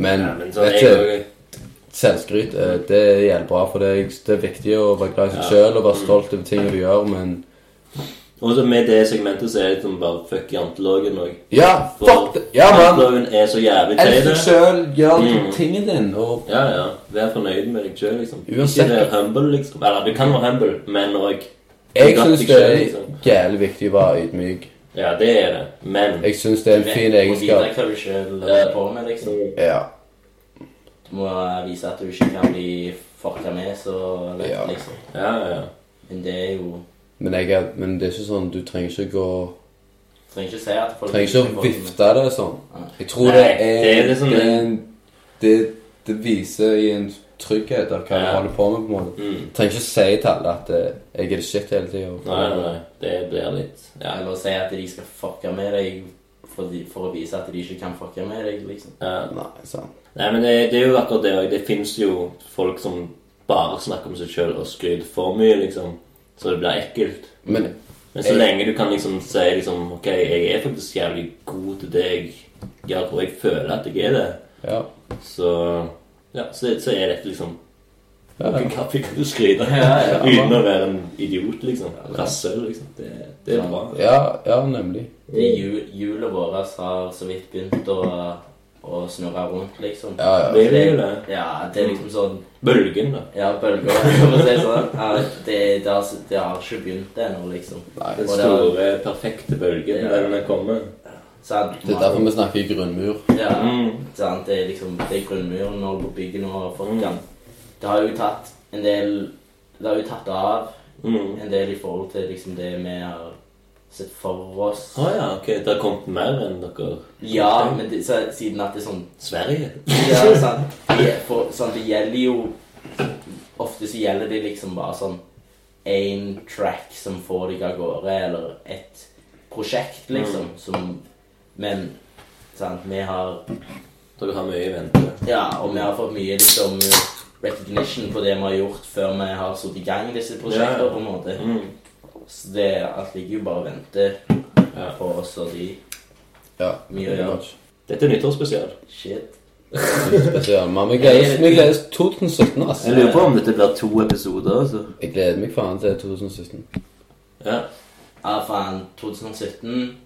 Speaker 2: men,
Speaker 1: Ja, men sånn
Speaker 2: vet
Speaker 1: er
Speaker 2: du,
Speaker 1: jeg jo-
Speaker 2: selvskryt eh, det er jævlig bra, for det er, det er viktig å være glad i seg
Speaker 1: Ja.
Speaker 2: sjøl og være stolt over ting du gjør, men
Speaker 1: Og så med det segmentet så er det liksom bare fuck janteloven òg.
Speaker 2: Ja, fuck det! Ja, mann!
Speaker 1: Janteloven er så Mm. jævlig
Speaker 2: Elsk deg
Speaker 1: teit.
Speaker 2: sjøl, gjør
Speaker 1: Mhm.
Speaker 2: tingen din, og
Speaker 1: Ja, ja. Vær fornøyd med deg sjøl, liksom.
Speaker 2: Uansett.
Speaker 1: Ikke vær humble, liksom. Eller du kan være humble, men òg
Speaker 2: jeg
Speaker 1: Glatt
Speaker 2: syns
Speaker 1: deg
Speaker 2: det er
Speaker 1: selv, liksom.
Speaker 2: jævlig viktig å være ydmyk.
Speaker 1: Ja, det er det. Men
Speaker 2: Jeg syns det er en fin
Speaker 3: Du må
Speaker 2: egenskap.
Speaker 3: vite hva du selv holder på med, liksom.
Speaker 2: Ja.
Speaker 3: Du må vise at du ikke kan bli fucka med så lett,
Speaker 2: Ja.
Speaker 3: liksom.
Speaker 1: Ja, ja.
Speaker 3: Men det er jo
Speaker 2: Men, jeg, er- men det er ikke sånn Du trenger ikke gå
Speaker 3: Trenger ikke si at folk
Speaker 2: Trenger ikke å vifte det sånn. Jeg tror
Speaker 1: Nei,
Speaker 2: det er,
Speaker 1: det er liksom-
Speaker 2: det, er en, det, det viser i en trygghet av hva du
Speaker 1: Ja.
Speaker 2: holder på med. på en måte.
Speaker 1: Mm.
Speaker 2: Trenger ikke si til alle at eh, jeg er det shit hele
Speaker 1: Nei, nei,
Speaker 2: tida.
Speaker 1: nei. Det blir litt Ja,
Speaker 3: Eller si at de skal fucke med deg for, de, for å vise at de ikke kan fucke med deg, liksom.
Speaker 1: ja.
Speaker 2: Nei, sånn. sant.
Speaker 1: Nei, men det, det er jo akkurat det òg. Det fins jo folk som bare snakker om seg sjøl og skryter for mye, liksom. Så det blir ekkelt.
Speaker 2: Men
Speaker 1: Men så
Speaker 2: Jeg-
Speaker 1: lenge du kan liksom si liksom OK, jeg er faktisk jævlig god til det jeg gjør, og jeg føler at jeg er det,
Speaker 2: ja.
Speaker 1: så Ja, så, så er dette liksom Hvilken kaffe kan du skryte av?
Speaker 3: Ja, ja.
Speaker 1: Uten å være en idiot, liksom. Rasshøl, liksom. Det, det er bra.
Speaker 2: Ja, ja, nemlig.
Speaker 3: Det er jul, julet vårt har så vidt begynt å, å snurre rundt, liksom.
Speaker 2: Ja, ja.
Speaker 1: Det er jo det.
Speaker 3: Ja, det er liksom sånn
Speaker 1: Bølgen, da.
Speaker 3: Ja, bølger, for å si det sånn. Ja, det, det, har, det har ikke begynt ennå, liksom.
Speaker 2: Nei.
Speaker 1: Den store, perfekte bølgen
Speaker 3: Ja.
Speaker 1: der den kommer.
Speaker 3: Sant?
Speaker 2: Det er derfor vi snakker i grunnmur.
Speaker 3: Ja,
Speaker 1: Mm.
Speaker 3: sant? Det er liksom det er grunnmuren når du bygger nå og
Speaker 2: Mm.
Speaker 3: folk kan Det har jo tatt en del Det har jo tatt av
Speaker 1: Mm.
Speaker 3: en del i forhold til liksom det vi har sett for oss.
Speaker 1: Å ja, ok. Det har kommet mer enn dere
Speaker 3: Ja, men det, så, siden at det er sånn
Speaker 1: Sverige?
Speaker 3: Ja, sant. Det, for, sånn, det gjelder jo Ofte så gjelder det liksom bare sånn én track som får deg av gårde, eller et prosjekt, liksom,
Speaker 1: Mm.
Speaker 3: som Men sant, vi har
Speaker 1: Dere har mye i vente.
Speaker 3: Ja, og vi har fått mye liksom recognition på det vi har gjort før vi har satt i gang disse
Speaker 1: Ja,
Speaker 3: prosjektene,
Speaker 1: ja.
Speaker 3: på en måte.
Speaker 1: Mm.
Speaker 3: Så det, alt ligger jo bare og venter
Speaker 1: Ja.
Speaker 3: på oss og de.
Speaker 2: Ja.
Speaker 3: Mye å gjøre.
Speaker 1: Dette er nyttårsspesial.
Speaker 3: Shit.
Speaker 2: Spesial. Men vi gleder oss- vi gleder oss til 2017, ass.
Speaker 1: Jeg lurer på om dette blir to episoder. altså.
Speaker 2: Jeg gleder meg faen til 2017.
Speaker 1: Ja.
Speaker 3: Ja, faen, 2017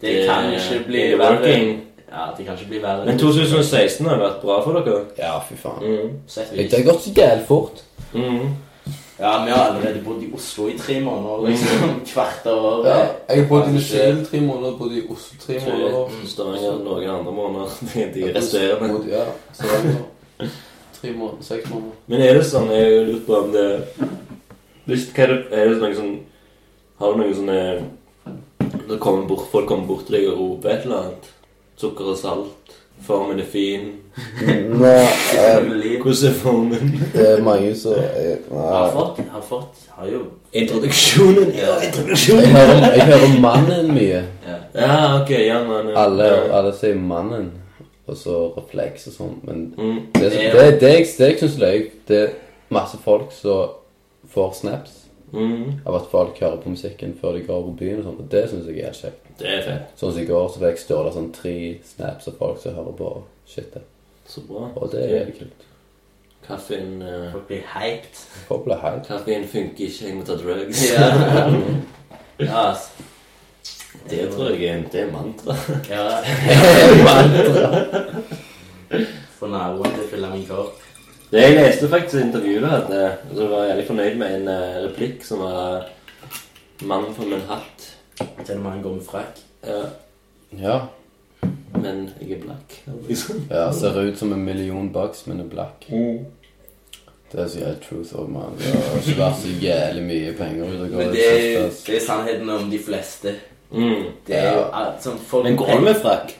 Speaker 3: Det
Speaker 1: Det-
Speaker 3: kan ikke bli
Speaker 1: det er
Speaker 3: verre.
Speaker 1: working.
Speaker 3: Ja, det kan ikke bli verre.
Speaker 1: Men 2016 har vært bra for dere.
Speaker 2: Ja, fy faen.
Speaker 1: Mm.
Speaker 3: Sett
Speaker 2: Det
Speaker 3: vis.
Speaker 2: har gått så jævlig fort.
Speaker 1: Mm.
Speaker 3: Ja, vi har allerede bodd i Oslo i tre måneder, liksom. Hvert år.
Speaker 2: Ja, jeg har bodd i
Speaker 3: Altså,
Speaker 2: New tre måneder, bodd i Oslo tre måneder.
Speaker 1: Mm. Stavanger noen andre måneder. De- De resterende.
Speaker 2: Bodd- Ja, Stavanger. Tre måneder, seks måneder.
Speaker 1: Men er det sånn Jeg har lurt på om det Hvis- hva Er det er det noen sånn Har du noen sånne Det kommer bort, Folk kommer bort til deg og roper et eller annet. Sukker og salt. Formen er fin.
Speaker 2: Nei,
Speaker 3: Liv.
Speaker 1: Hvordan er formen?
Speaker 2: eh, det er mange som
Speaker 3: Har fått, har fått, har jo
Speaker 1: Introduksjonen. Ja,
Speaker 2: Jeg
Speaker 1: introduksjonen.
Speaker 2: hører, jeg hører mannen mye.
Speaker 3: ja.
Speaker 1: Ja, ok. Ja, men ja.
Speaker 2: Alle, alle sier mannen, og så refleks og sånn. Men
Speaker 1: Mm.
Speaker 2: det, det, det, det, jeg- det jeg syns er løye, det er masse folk som får snaps
Speaker 1: Mm.
Speaker 2: av at folk hører på musikken før de går på byen og sånn. Og det syns jeg er kjekt.
Speaker 1: Det er fett.
Speaker 2: Sånn som i går, så fikk Ståle sånn tre snaps av folk som hører på shitet.
Speaker 1: Så bra.
Speaker 2: Og det er jævlig kult.
Speaker 1: Kaffen eh,
Speaker 3: Folk blir hyped.
Speaker 2: Folk blir hyped.
Speaker 1: Kaffen funker ikke, jeg må ta drugs.
Speaker 3: Ja, ja ass.
Speaker 1: Det tror jeg er, det er mantra.
Speaker 3: Ja. Få naboen til å fylle min kopp.
Speaker 1: Det jeg leste faktisk i intervjuet, at eh, så var jeg jævlig fornøyd med en eh, replikk som var 'Mannen fra Manhattan'.
Speaker 3: Til og med han går med frakk.
Speaker 1: Ja,
Speaker 2: Ja.
Speaker 1: men jeg er black. Liksom.
Speaker 2: ja. Ser ut som en million bucks, men er black.
Speaker 1: Mm.
Speaker 2: Det er så jævlig truth over man. Det har ikke vært så jævlig mye penger ut og går
Speaker 3: Men
Speaker 2: i
Speaker 3: det er,
Speaker 2: siste,
Speaker 3: jo-
Speaker 2: ass.
Speaker 3: det er sannheten om de fleste.
Speaker 1: Mm.
Speaker 3: Det er jo
Speaker 2: Ja.
Speaker 3: alt som folk
Speaker 1: Men går han med frakk?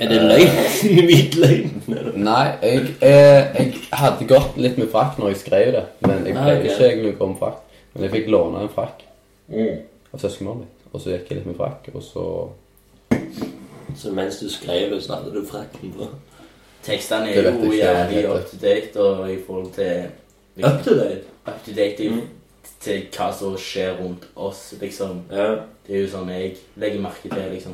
Speaker 1: Er det løgn? Hvit løgn?
Speaker 2: Nei, jeg, eh, jeg hadde gått litt med frakk når jeg skrev det, men jeg
Speaker 1: Ah,
Speaker 2: pleier
Speaker 1: ok.
Speaker 2: ikke egentlig å gå med frakk. Men jeg fikk låne en frakk
Speaker 1: Mm.
Speaker 2: av søskenbarnet mitt, og så gikk jeg litt med frakk, og så
Speaker 1: Så mens du skrev det, så hadde du frakken på?
Speaker 3: Tekstene
Speaker 2: Det
Speaker 3: er
Speaker 2: vet jeg
Speaker 3: jo
Speaker 2: ikke, jeg vet
Speaker 3: jævlig
Speaker 2: det.
Speaker 3: up to date og i forhold til
Speaker 1: Up to date.
Speaker 3: Up to date er jo
Speaker 1: Mm.
Speaker 3: til hva som skjer rundt oss, liksom.
Speaker 1: Ja.
Speaker 3: Det er jo sånn jeg legger merke til, liksom.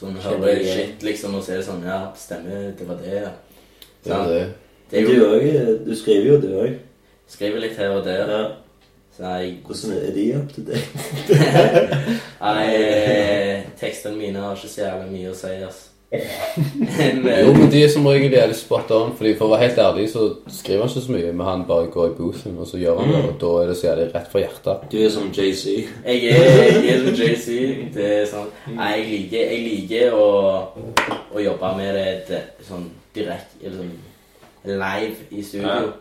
Speaker 3: Sånn
Speaker 1: Kjenner
Speaker 3: hører jeg
Speaker 1: igjen.
Speaker 3: shit, liksom, og så er det sånn Ja, stemmer, det var det, ja.
Speaker 2: det var
Speaker 3: Sant?
Speaker 2: det.
Speaker 3: Det er
Speaker 1: Du,
Speaker 3: jo
Speaker 1: også, eh, du skriver jo, du òg.
Speaker 3: Skriver litt her og der.
Speaker 1: Ja.
Speaker 3: Så jeg
Speaker 1: Hvordan er de up to date?
Speaker 3: Nei, eh, tekstene mine har ikke så jævlig mye å si, ass. Men, eh,
Speaker 2: Jo, men de er som regel jævlig spot on, fordi for å være helt ærlig så skriver han ikke så mye, men han bare går i bosen, og så gjør han det,
Speaker 3: Mm.
Speaker 2: og da er det så jævlig rett fra hjertet.
Speaker 1: Du er som JC.
Speaker 3: eh, Jeg er, jeg er som JC. Det er sånn Nei, jeg liker, jeg liker å, å jobbe med det di- sånn direkte Eller sånn live i
Speaker 1: Ja.
Speaker 3: studio.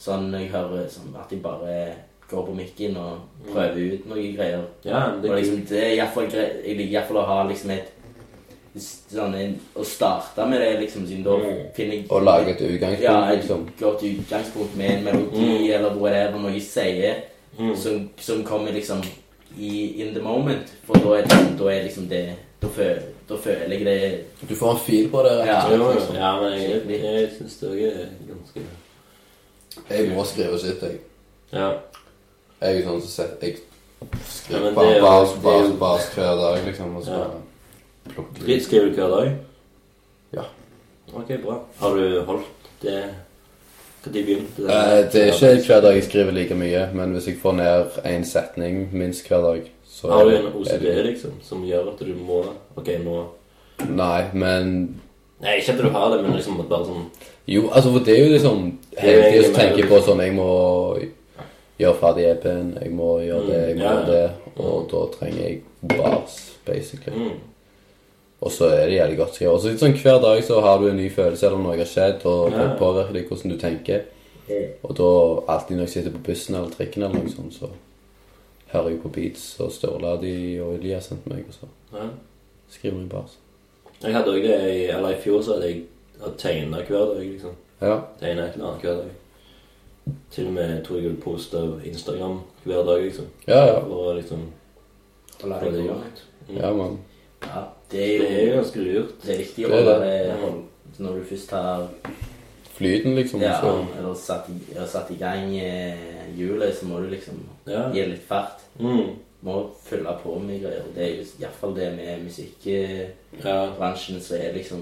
Speaker 3: Sånn jeg hører sånn at jeg bare går på mikken og prøver ut noen greier.
Speaker 1: Ja, men
Speaker 3: Og
Speaker 1: det er kult.
Speaker 3: liksom, det er i hvert fall grei, jeg liker iallfall å ha liksom et Sånn en, Å starte med det, liksom, siden da
Speaker 1: Mm.
Speaker 3: finner jeg
Speaker 2: Og lage et utgangspunkt,
Speaker 3: ja, et
Speaker 2: liksom.
Speaker 3: godt utgangspunkt med en melodi
Speaker 1: Mm.
Speaker 3: eller whatever noe jeg sier
Speaker 1: Mm.
Speaker 3: som, som kommer liksom i in the moment. For da er, det- da er liksom det Da føler, da føler jeg det
Speaker 2: Du får en feel på det, rett
Speaker 3: Ja.
Speaker 2: og slett. liksom.
Speaker 1: Ja, men jeg, jeg, jeg syns det òg er ganske
Speaker 2: Jeg må skrive sitt, jeg.
Speaker 1: Ja.
Speaker 2: Jeg er sånn som sett Jeg
Speaker 1: Ja,
Speaker 2: skriver
Speaker 1: men det er
Speaker 2: bare
Speaker 1: jo-
Speaker 2: bas,
Speaker 1: det er
Speaker 2: bas,
Speaker 1: jo-
Speaker 2: bas hver dag, liksom, og så
Speaker 1: Ja.
Speaker 2: bare plukker
Speaker 1: Skriver- Skriver du hver dag?
Speaker 2: Ja.
Speaker 1: Ok, bra. Har du holdt det Når begynte det?
Speaker 2: Eh, Det er ikke hver dag jeg skriver like mye, men hvis jeg får ned en setning minst hver dag, så
Speaker 1: Har du en
Speaker 2: er
Speaker 1: OCD,
Speaker 2: det-
Speaker 1: liksom, som gjør at du må Ok, nå
Speaker 2: Nei, men
Speaker 1: Nei, ikke at du har det, men liksom bare sånn
Speaker 2: Jo, altså, for det er jo liksom Hele tiden så tenker jeg på sånn Jeg må gjøre ferdig EP-en, jeg må gjøre det, jeg må
Speaker 1: Ja, ja.
Speaker 2: gjøre det, og da trenger jeg bars, basically.
Speaker 1: mm,
Speaker 2: Og så er det jævlig godt skrevet. Og så litt sånn hver dag så har du en ny følelse eller noe har skjedd, og det
Speaker 1: Ja.
Speaker 2: påvirker deg hvordan du tenker. Og da alltid når jeg sitter på bussen eller trikken eller noe sånt, så hører jeg på beats og Sturla de og Eli har sendt meg, og så
Speaker 1: ja.
Speaker 2: skriver jeg bars.
Speaker 1: Jeg hadde òg det i Eller i fjor så hadde jeg tegna hver dag, liksom.
Speaker 2: Ja.
Speaker 1: Tegna et eller annet hver dag. Til og med tror jeg jeg posta Instagram hver dag, liksom.
Speaker 2: Ja, ja.
Speaker 1: Og liksom
Speaker 3: Og la
Speaker 1: få
Speaker 3: det
Speaker 1: det
Speaker 3: gå.
Speaker 1: gjort. Mm.
Speaker 2: Ja, mann.
Speaker 3: Ja, det er
Speaker 1: Det er jo
Speaker 3: jo
Speaker 1: ganske lurt.
Speaker 3: det er viktig å
Speaker 2: Det er
Speaker 3: holde
Speaker 2: det.
Speaker 3: det når du først har
Speaker 2: Flyten, liksom.
Speaker 3: ja,
Speaker 2: Så.
Speaker 3: eller satt, i, eller satt i gang eh, hjulet, så må du liksom
Speaker 1: Ja.
Speaker 3: gi litt fart.
Speaker 1: Mm.
Speaker 3: Må fylle på med greier. Det er jo iallfall det med musikkbransjen,
Speaker 1: ja.
Speaker 3: så er liksom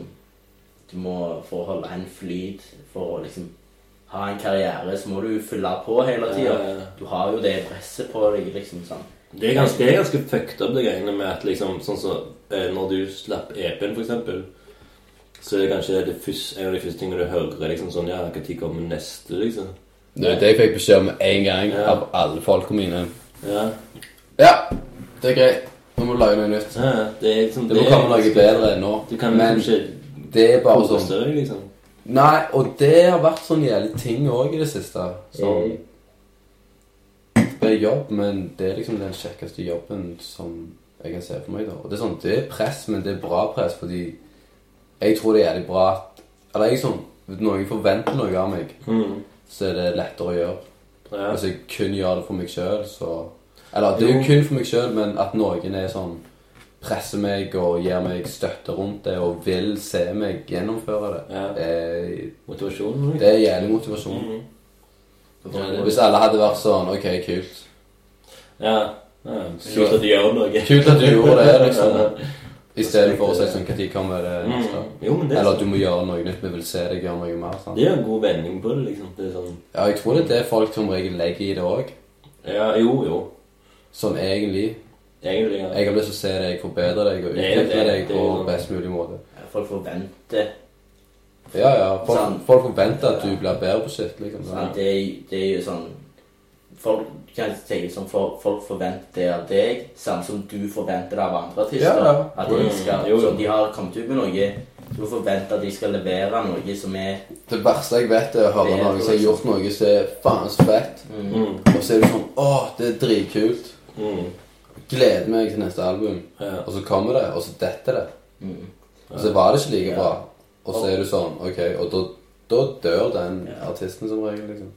Speaker 3: Du må for å holde en flyt, for å liksom ha en karriere, så må du fylle på hele tida.
Speaker 1: Eh,
Speaker 3: Du har jo det presset på deg, liksom sånn.
Speaker 1: Det er ganske, det er ganske fucked up, det greiene med at liksom Sånn som eh, når du slapp EP-en, for eksempel, så er det kanskje det første, en av de første tingene du hører, er liksom sånn Ja, når kommer neste, liksom?
Speaker 2: Det, det jeg fikk beskjed om med en gang
Speaker 1: Ja.
Speaker 2: av alle folka mine.
Speaker 1: Ja.
Speaker 2: Ja, det er greit. Nå må du lage noe nytt.
Speaker 1: ja det er liksom
Speaker 2: Det må komme noe bedre enn nå.
Speaker 1: Du kan
Speaker 2: Men
Speaker 1: liksom
Speaker 2: det er
Speaker 1: ikke
Speaker 2: bare
Speaker 1: kose
Speaker 2: sånn
Speaker 1: deg, liksom.
Speaker 2: Nei, og det har vært sånn jævlig ting òg i det siste. Sånn Det er jobb, men det er liksom den kjekkeste jobben som jeg kan se for meg, da. Og det er sånn, det er press, men det er bra press, fordi jeg tror det er jævlig bra at Eller jeg er sånn Når noen forventer noe av meg,
Speaker 1: Mm.
Speaker 2: så er det lettere å gjøre.
Speaker 1: Ja.
Speaker 2: Hvis jeg kun gjør det for meg sjøl, så Eller det er jo
Speaker 1: Jo.
Speaker 2: kun for meg sjøl, men at noen er sånn Presser meg og gir meg støtte rundt det og vil se meg gjennomføre det.
Speaker 1: ja.
Speaker 2: Eh,
Speaker 1: Motivasjon. liksom.
Speaker 2: det er jævlig motivasjon.
Speaker 1: Mm.
Speaker 3: Ja,
Speaker 1: det-
Speaker 2: Hvis alle hadde vært sånn OK, kult.
Speaker 1: Ja. ja. Kult at du gjør noe.
Speaker 2: Kult at du gjorde det, liksom.
Speaker 1: Ja.
Speaker 2: I stedet for å si sånn Når kommer det neste?
Speaker 1: Mm. Jo, men det er,
Speaker 2: Eller
Speaker 1: sånn.
Speaker 2: at du må gjøre noe nytt. Vi vil se deg gjøre noe mer. sant?
Speaker 1: det er en god vending på det, liksom. Det er sånn
Speaker 2: Ja, jeg tror det er det folk som regel legger i det òg.
Speaker 1: Ja, jo, jo.
Speaker 2: Sånn egentlig.
Speaker 1: Egentlig. Ja.
Speaker 2: Jeg har lyst til å se deg forbedre deg og
Speaker 1: Det er jo
Speaker 2: utvikle
Speaker 1: det,
Speaker 2: deg
Speaker 1: det er
Speaker 2: på
Speaker 1: jo sånn.
Speaker 2: best mulig måte.
Speaker 3: Folk forventer
Speaker 2: Ja, ja. Folk,
Speaker 3: Sant.
Speaker 2: folk forventer at du blir bedre på shit, liksom.
Speaker 3: sant? Det, er- det er jo sånn Folk kan ikke tenke sånn, for, folk forventer det av deg, samme som du forventer det av andre artister.
Speaker 2: Ja, ja.
Speaker 3: At de
Speaker 1: Mm,
Speaker 3: skal,
Speaker 1: jo, jo.
Speaker 3: så de har kommet ut med noe. Du forventer at de skal levere noe som er
Speaker 2: Det verste jeg vet, er å høre
Speaker 3: Det er
Speaker 2: noen som har gjort noe som er faen så fett,
Speaker 3: mm,
Speaker 1: Mm.
Speaker 2: og så er du sånn Å, det er dritkult.
Speaker 1: Mm.
Speaker 2: Gleder meg til neste album.
Speaker 1: Ja.
Speaker 2: Og så kommer det, og så detter det.
Speaker 3: mm,
Speaker 2: Og så var det ikke like
Speaker 3: Ja.
Speaker 2: bra. Og så er du sånn, ok, og da, da dør den
Speaker 3: Ja.
Speaker 2: artisten som regel, liksom.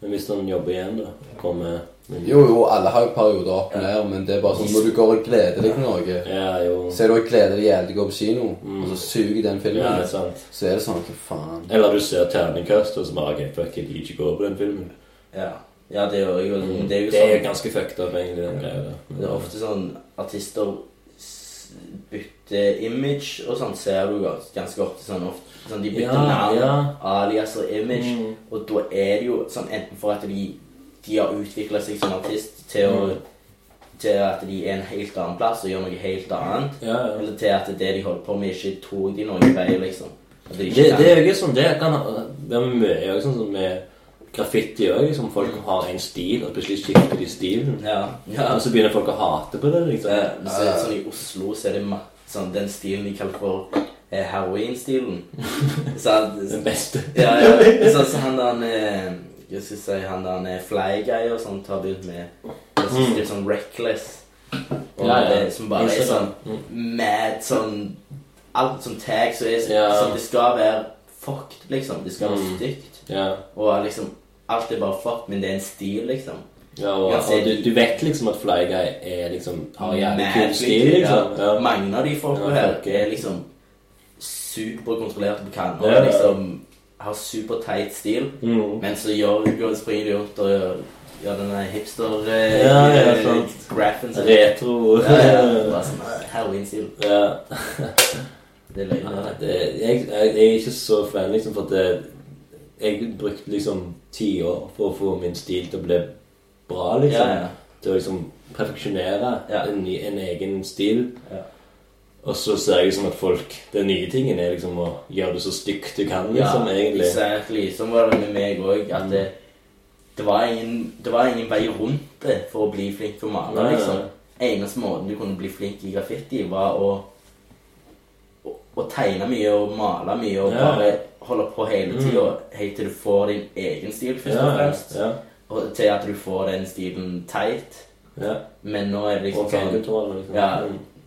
Speaker 1: Men hvis han jobber igjen, da? Kommer men-
Speaker 2: Jo, jo, alle har jo perioder opp og ned, men det er bare sånn når du går og gleder deg til noe
Speaker 1: Ja, jo.
Speaker 2: Så er du og gleder deg jævlig til å gå på kino,
Speaker 1: Mm.
Speaker 2: og så suger den filmen.
Speaker 1: Ja, det er sant.
Speaker 2: Så er det sånn, hva faen
Speaker 1: Eller du ser terningkast, og så bare OK, fuck it, jeg ikke går på den filmen. Mm.
Speaker 3: ja. ja, det gjør jeg jo. men Det er jo
Speaker 1: Det er jo
Speaker 3: sånn
Speaker 1: ganske fucked up, egentlig, den greia der.
Speaker 3: Det er ofte sånn artister s- bytter image og sånn, ser du gans- ganske ofte sånn ofte. Sånn, de bytter navn,
Speaker 1: ja.
Speaker 3: alias og image,
Speaker 1: Mm.
Speaker 3: og da er det jo sånn enten for at de, de har utvikla seg som artist til,
Speaker 1: Mm.
Speaker 3: å, til at de er en helt annen plass og gjør noe helt annet,
Speaker 1: Ja, ja.
Speaker 3: eller til at det de holder på med, ikke tok de noen vei, liksom. At de
Speaker 1: Det,
Speaker 3: ikke
Speaker 1: det
Speaker 3: kan-
Speaker 1: er jo ikke sånn det kan Det er mye er jo sånn som med graffiti òg. Liksom, folk har en stil, og plutselig skifter de stilen.
Speaker 3: Ja, ja.
Speaker 1: Og så begynner folk å hate på det.
Speaker 3: Så,
Speaker 1: liksom
Speaker 3: så, er det sånn, I Oslo så er det ma- sånn, den stilen de kaller for eh, heroin-stilen. Sånn,
Speaker 1: Den beste.
Speaker 3: ja, ja. Sånn som han der eh, Jeg skal si han der eh, flygeier som tar begynt med Jeg synes det er sånn reckless. Og
Speaker 1: Mm. Ja, ja.
Speaker 3: Det, som bare er sånn
Speaker 1: Instagram. Mm.
Speaker 3: mad sånn Alt som tags og er
Speaker 1: Ja.
Speaker 3: som det skal være fucked, liksom. Det skal være
Speaker 1: Mm.
Speaker 3: stygt.
Speaker 1: Ja.
Speaker 3: Og liksom Alt er bare fucked, men det er en stil, liksom.
Speaker 1: Ja, og, og du, du vet liksom at Fly Guy er liksom, har jævlig
Speaker 3: Mad
Speaker 1: kul stil,
Speaker 3: flink,
Speaker 1: liksom.
Speaker 3: ja.
Speaker 1: Ja.
Speaker 3: Mange av de folka
Speaker 1: Ja,
Speaker 3: her
Speaker 1: fuck.
Speaker 3: er liksom superkontrollerte på kanten.
Speaker 1: Ja, ja.
Speaker 3: og Liksom har superteit stil.
Speaker 1: Mm.
Speaker 3: Men så gjør Girls Spring det rundt og gjør, gjør denne hipster
Speaker 1: Ja, ja,
Speaker 3: eh,
Speaker 1: sant.
Speaker 3: graffen sin.
Speaker 1: Retro.
Speaker 3: Ja, ja, bare sånn, eh, Heroin-stil.
Speaker 1: Ja.
Speaker 3: Det er løgn.
Speaker 1: Ja,
Speaker 3: det.
Speaker 1: det, jeg, jeg jeg er ikke så fan, liksom, for at det, jeg brukte liksom tiår for å få min stil til å bli bra, liksom.
Speaker 3: Ja, ja.
Speaker 1: Til å liksom perfeksjonere
Speaker 3: Ja.
Speaker 1: en, ny- en egen stil.
Speaker 3: Ja.
Speaker 1: Og så ser jeg liksom at folk Den nye tingen er liksom å gjøre det så stygt du kan, liksom, egentlig. Mm.
Speaker 3: Exactly. Sånn var det med meg òg. At det, det, var ingen, det var ingen vei rundt det for å bli flink til å male.
Speaker 1: Nei, nei,
Speaker 3: liksom. Eneste måten du kunne bli flink i graffiti, var å, å, å tegne mye og male mye og
Speaker 1: Ja. Mm.
Speaker 3: bare holde på hele tida helt til du får din egen stil, først og
Speaker 1: Ja,
Speaker 3: fremst.
Speaker 1: ja,
Speaker 3: Og til at du får den stilen teit.
Speaker 1: ja.
Speaker 3: Men nå er det liksom
Speaker 1: Og
Speaker 3: sånn
Speaker 1: fargekontroll, liksom.
Speaker 3: Ja,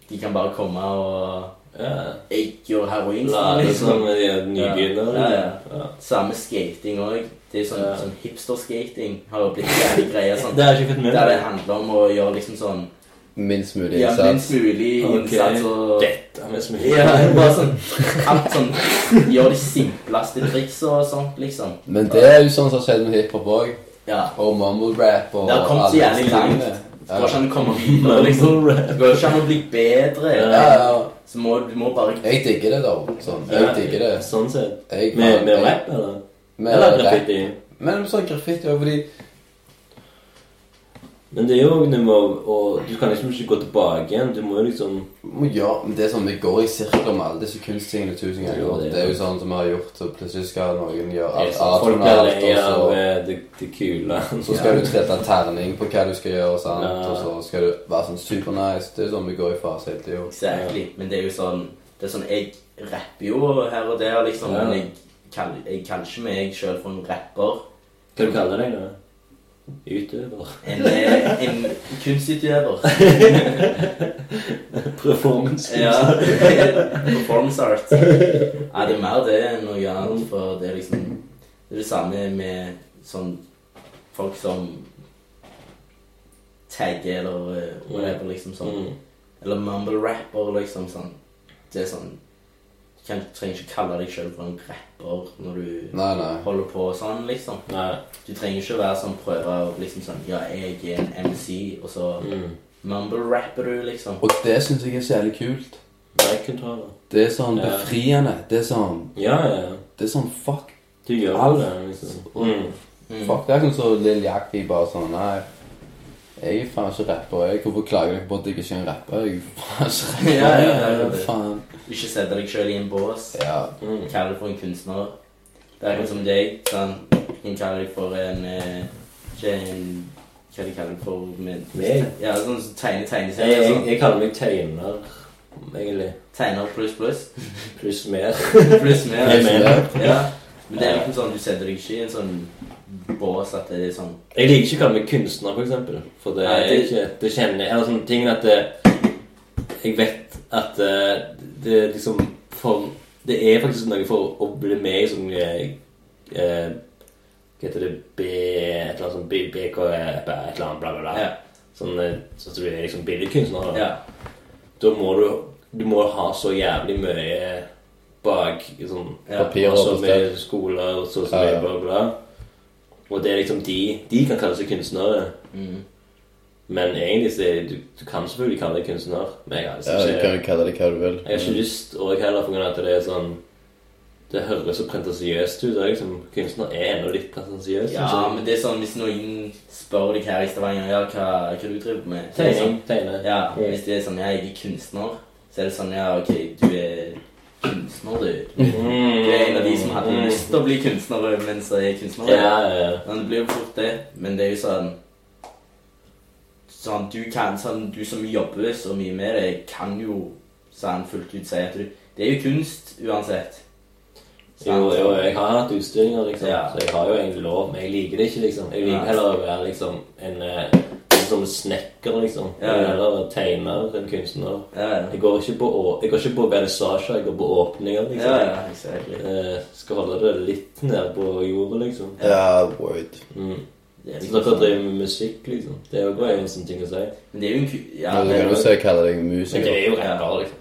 Speaker 3: de kan bare komme og
Speaker 1: ja.
Speaker 3: Jeg gjør heroin.
Speaker 1: Lade som de er
Speaker 3: Ja,
Speaker 1: nybegynnere.
Speaker 3: ja, ja.
Speaker 1: liksom. Ja.
Speaker 3: Samme skating òg. Det er sånn,
Speaker 1: Ja.
Speaker 3: sånn hipster-skating har jo blitt en greie sånn.
Speaker 1: Det har jeg ikke fått med
Speaker 3: Der det
Speaker 1: meg.
Speaker 3: handler om å gjøre liksom sånn
Speaker 2: Minst mulig
Speaker 3: ja,
Speaker 2: innsats.
Speaker 3: minst mulig
Speaker 1: Ok.
Speaker 3: innsats og
Speaker 1: Dette med smil.
Speaker 3: ja, bare sånn, Alt sånn Gjør de simpleste triksa og sånt, liksom.
Speaker 2: Men det er jo sånn som skjedde med hiphop òg.
Speaker 3: Ja.
Speaker 2: Og mumble rap og
Speaker 3: Det har kommet så
Speaker 2: alle
Speaker 3: jævlig
Speaker 2: disse
Speaker 3: langt.
Speaker 2: tingene.
Speaker 3: Det
Speaker 2: sånn-
Speaker 3: går ikke an å komme videre, liksom. Det går ikke an å bli bedre.
Speaker 2: Ja, ja, ja.
Speaker 3: Så må du må bare
Speaker 2: Jeg digger det, da. Sånn. Jeg digger det.
Speaker 1: Sånn sett.
Speaker 2: Jeg,
Speaker 1: Med, med
Speaker 2: jeg-
Speaker 1: rap, eller?
Speaker 2: med
Speaker 1: eller
Speaker 2: rap.
Speaker 1: graffiti?
Speaker 2: Men sånn graffiti òg, fordi
Speaker 1: Men det er jo noe med å- å Du kan liksom ikke gå tilbake igjen. Du må jo liksom
Speaker 2: Må gjøre- men det er sånn, Vi går i sirkler med alle disse kunsttingene tusen ganger.
Speaker 1: Jo, det
Speaker 2: Det,
Speaker 1: er
Speaker 2: er jo sånn som vi har gjort, og plutselig skal noen gjøre alt
Speaker 1: sånn Folk
Speaker 2: atonalt,
Speaker 1: blir
Speaker 2: og
Speaker 1: lei av
Speaker 2: så,
Speaker 1: eh, det, det kule.
Speaker 2: så skal du trette terning på hva du skal gjøre, sant?
Speaker 1: Ja.
Speaker 2: og så skal du være sånn supernice. Det er sånn vi går i fase hele tida.
Speaker 3: Exactly. Men det er jo sånn Det er sånn Jeg rapper jo her og der, liksom.
Speaker 1: Ja.
Speaker 3: Men jeg, kall- jeg kaller ikke meg sjøl for en rapper.
Speaker 1: Hva du kaller du deg da? Utøver?
Speaker 3: En, eh, en kunstutøver.
Speaker 1: Performance?
Speaker 3: Ja. Performance art. Ja, det er mer det enn noe annet, for det er liksom Det er det samme med sånn folk som tagger eller eh, whatever, liksom sånn.
Speaker 1: Mm.
Speaker 3: Eller mumble rapper, liksom sånn. Det er sånn Du kan, trenger ikke kalle deg sjøl for en rapper når du
Speaker 2: Nei, nei.
Speaker 3: holder på sånn, liksom.
Speaker 1: Nei.
Speaker 3: Du trenger ikke være sånn prøve å liksom sånn Ja, jeg er en MC, og så
Speaker 1: Mm.
Speaker 3: mumble rapper du, liksom.
Speaker 2: Og det syns jeg er så jævlig kult.
Speaker 1: Backcontroller.
Speaker 2: Det er sånn
Speaker 1: Ja.
Speaker 2: befriende. Det er sånn
Speaker 1: Ja, ja.
Speaker 2: Det er sånn fuck.
Speaker 1: Du gjør
Speaker 2: Alt.
Speaker 1: det, liksom. Mm.
Speaker 3: Mm.
Speaker 2: Fuck, det er sånn så Lill Jacky bare sånn Nei, jeg er faen ikke rapper. Jeg, hvorfor klager dere på at jeg ikke er en rapper? Jeg er faen ikke rapper.
Speaker 3: Ja, ja, ja, ja.
Speaker 2: faen.
Speaker 3: Ikke sette deg sjøl i en bås.
Speaker 2: Ja.
Speaker 1: Mm.
Speaker 3: Kall deg for en kunstner. Det er akkurat som deg. sånn. Du kan kalle deg for en eh, Ikke en Hva de kaller deg for med,
Speaker 1: Meg?
Speaker 3: Ja, sånn som tegne
Speaker 1: Jeg,
Speaker 3: tegneserier.
Speaker 1: jeg,
Speaker 3: Sånn.
Speaker 1: jeg kaller meg tegner, egentlig.
Speaker 3: Tegner pluss pluss.
Speaker 1: Pluss mer.
Speaker 3: Pluss mer.
Speaker 1: Jeg mener.
Speaker 3: Ja. Men det er liksom sånn, du setter deg ikke i en sånn bås at det er sånn
Speaker 1: Jeg liker ikke å kalle meg kunstner, for eksempel. For det,
Speaker 3: Nei,
Speaker 1: er
Speaker 3: det-
Speaker 1: ikke, det kjenner jeg Eller sånne ting at det, Jeg vet at eh, det er liksom for, Det er faktisk noe for å bli med i sånn eh, eh, Hva heter det B... Et eller annet sånn B- BK... Et eller annet bla, bla, bla.
Speaker 3: Ja.
Speaker 1: Sånn eh, sånn at du er liksom billedkunstner. Da.
Speaker 3: Ja.
Speaker 1: da må du Du må ha så jævlig mye bak i sånn
Speaker 3: Ja.
Speaker 2: Papir og
Speaker 1: Også med
Speaker 2: bestem.
Speaker 1: skoler og så så
Speaker 2: Ja, ja.
Speaker 1: mye bla, bla. Og det er liksom de De kan kalle seg kunstnere.
Speaker 3: Mm.
Speaker 1: Men egentlig så er, du, du kan selvfølgelig kalle deg kunstner, men jeg har
Speaker 2: Ja,
Speaker 1: liksom
Speaker 2: du kan
Speaker 1: ikke,
Speaker 2: jo kalle det hva du vil.
Speaker 1: jeg har ikke lyst òg heller, på grunn av at det er sånn Det høres så pretensiøst ut. og Liksom, kunstner er ennå litt pretensiøst.
Speaker 3: ja,
Speaker 1: synes jeg.
Speaker 3: men det er sånn hvis noen spør deg her i Stavanger ja, hva, hva du driver med så er det sånn,
Speaker 1: Tegning. Tegne.
Speaker 3: Ja, hvis det er sånn ja, jeg er kunstner, så er det sånn ja, ok, du er kunstner, du. Du er en av de som hadde lyst til å bli Mm. kunstner, men så er jeg kunstner.
Speaker 1: Ja, ja, ja.
Speaker 3: Men det blir jo fort det. Men det er jo sånn Sånn, du kan, sånn, du som jobber så mye med det, kan jo sånn fullt ut si at du Det er jo kunst uansett.
Speaker 1: Jo, jo, jeg har hatt utstillinger, liksom,
Speaker 3: Ja.
Speaker 1: så jeg har jo egentlig lov, men jeg liker det ikke, liksom. Jeg liker
Speaker 3: Nei.
Speaker 1: heller å være liksom en, eh, en sånn snekker, liksom.
Speaker 3: Ja, ja.
Speaker 1: Eller en tegner, en kunstner.
Speaker 3: Ja, ja.
Speaker 1: Jeg går ikke på, å- jeg går ikke på vernissasjer, jeg går på åpninger,
Speaker 3: ja,
Speaker 1: liksom.
Speaker 3: ja exactly.
Speaker 1: Eh, skal holde det litt ned på jorda, liksom.
Speaker 2: Ja, word.
Speaker 1: Mm.
Speaker 3: Det er
Speaker 1: Så
Speaker 3: liksom
Speaker 1: dere
Speaker 3: sånn.
Speaker 1: driver med musikk, liksom. Det er jo bare en sånn ting å si.
Speaker 3: Men det er jo en ku... Ja,
Speaker 2: Ja, du
Speaker 3: det er
Speaker 2: kan jo
Speaker 3: jo
Speaker 2: også kalle deg
Speaker 1: Men det
Speaker 2: musiker.
Speaker 1: er jo rapper, liksom.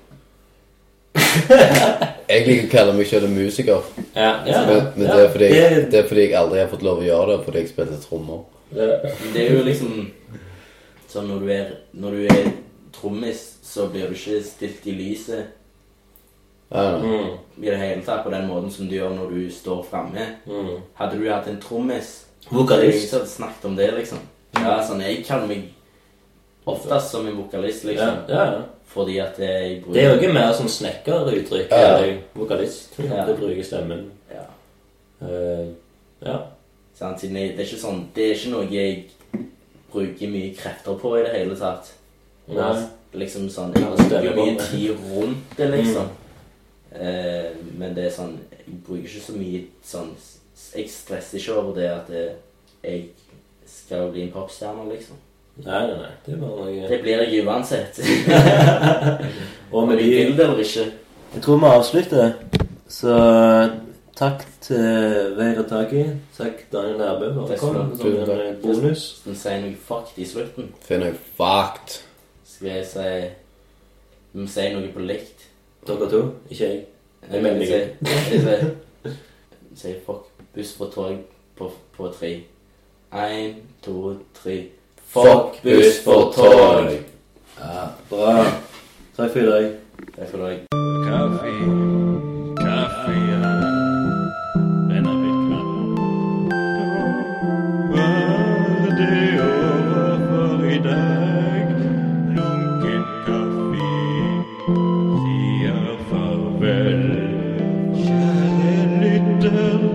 Speaker 2: Jeg liker å kalle meg selv musiker,
Speaker 1: Ja, ja.
Speaker 2: men, men
Speaker 1: ja.
Speaker 2: det, er fordi,
Speaker 1: det-
Speaker 2: det er fordi jeg aldri har fått lov å gjøre det fordi jeg spilte trommer.
Speaker 1: det-
Speaker 3: Men det er jo liksom Sånn når du er Når du er trommis, så blir du ikke stilt i lyset
Speaker 2: Ja, ja.
Speaker 1: Mm,
Speaker 3: i det hele tatt på den måten som du gjør når du står framme.
Speaker 1: mm.
Speaker 3: Hadde du hatt en trommis
Speaker 1: Vokalist.
Speaker 3: Jeg hadde snakket om det, liksom. Ja, sånn, jeg kaller meg oftest som en vokalist,
Speaker 1: Ja,
Speaker 3: liksom.
Speaker 1: ja, ja.
Speaker 3: Fordi at jeg bruker
Speaker 1: Det er jo ikke mer sånn snekkeruttrykk.
Speaker 2: Ja.
Speaker 1: eller Vokalist.
Speaker 3: Ja.
Speaker 1: Det bruker stemmen.
Speaker 3: Ja,
Speaker 1: Eh, ja.
Speaker 3: sant? Siden jeg, det er ikke sånn Det er ikke noe jeg bruker mye krefter på i det hele tatt.
Speaker 1: Nei.
Speaker 3: Liksom sånn
Speaker 1: Ja,
Speaker 3: Jeg
Speaker 1: det Mm.
Speaker 3: bruker jo
Speaker 1: stemmer.
Speaker 3: mye tid rundt det, liksom. Eh, men det er sånn Jeg bruker ikke så mye sånn Jeg stresser ikke over det at eh, jeg skal bli en popstjerne, liksom.
Speaker 1: nei, nei, nei. Det er bare noe
Speaker 3: Det blir jeg uansett.
Speaker 1: Og
Speaker 3: Om
Speaker 1: med
Speaker 3: jeg
Speaker 1: de
Speaker 3: vil det eller ikke.
Speaker 1: Jeg tror vi avslutter. Så takk til Veira Taki. Takk Daniel Nærbø for å
Speaker 3: Takk skal du
Speaker 1: komme
Speaker 3: ha.
Speaker 1: som en eh, bonus.
Speaker 3: Hvis den sier noe fucked i slutten,
Speaker 2: Finn jeg fucked.
Speaker 3: skal jeg si Vi må si noe på likt.
Speaker 1: Dere to, ikke jeg. Jeg mener
Speaker 3: Jeg sier si, fuck buss for tog på, på tre. Én, to, tre.
Speaker 1: Fuck buss for tog. Ja, bra. Takk for i dag.
Speaker 3: Takk for i dag.
Speaker 4: Kaffe, kaffe, ja. Den er litt knapp. Var det over for i dag? Lunken kaffe sier farvel. Kjære lytter,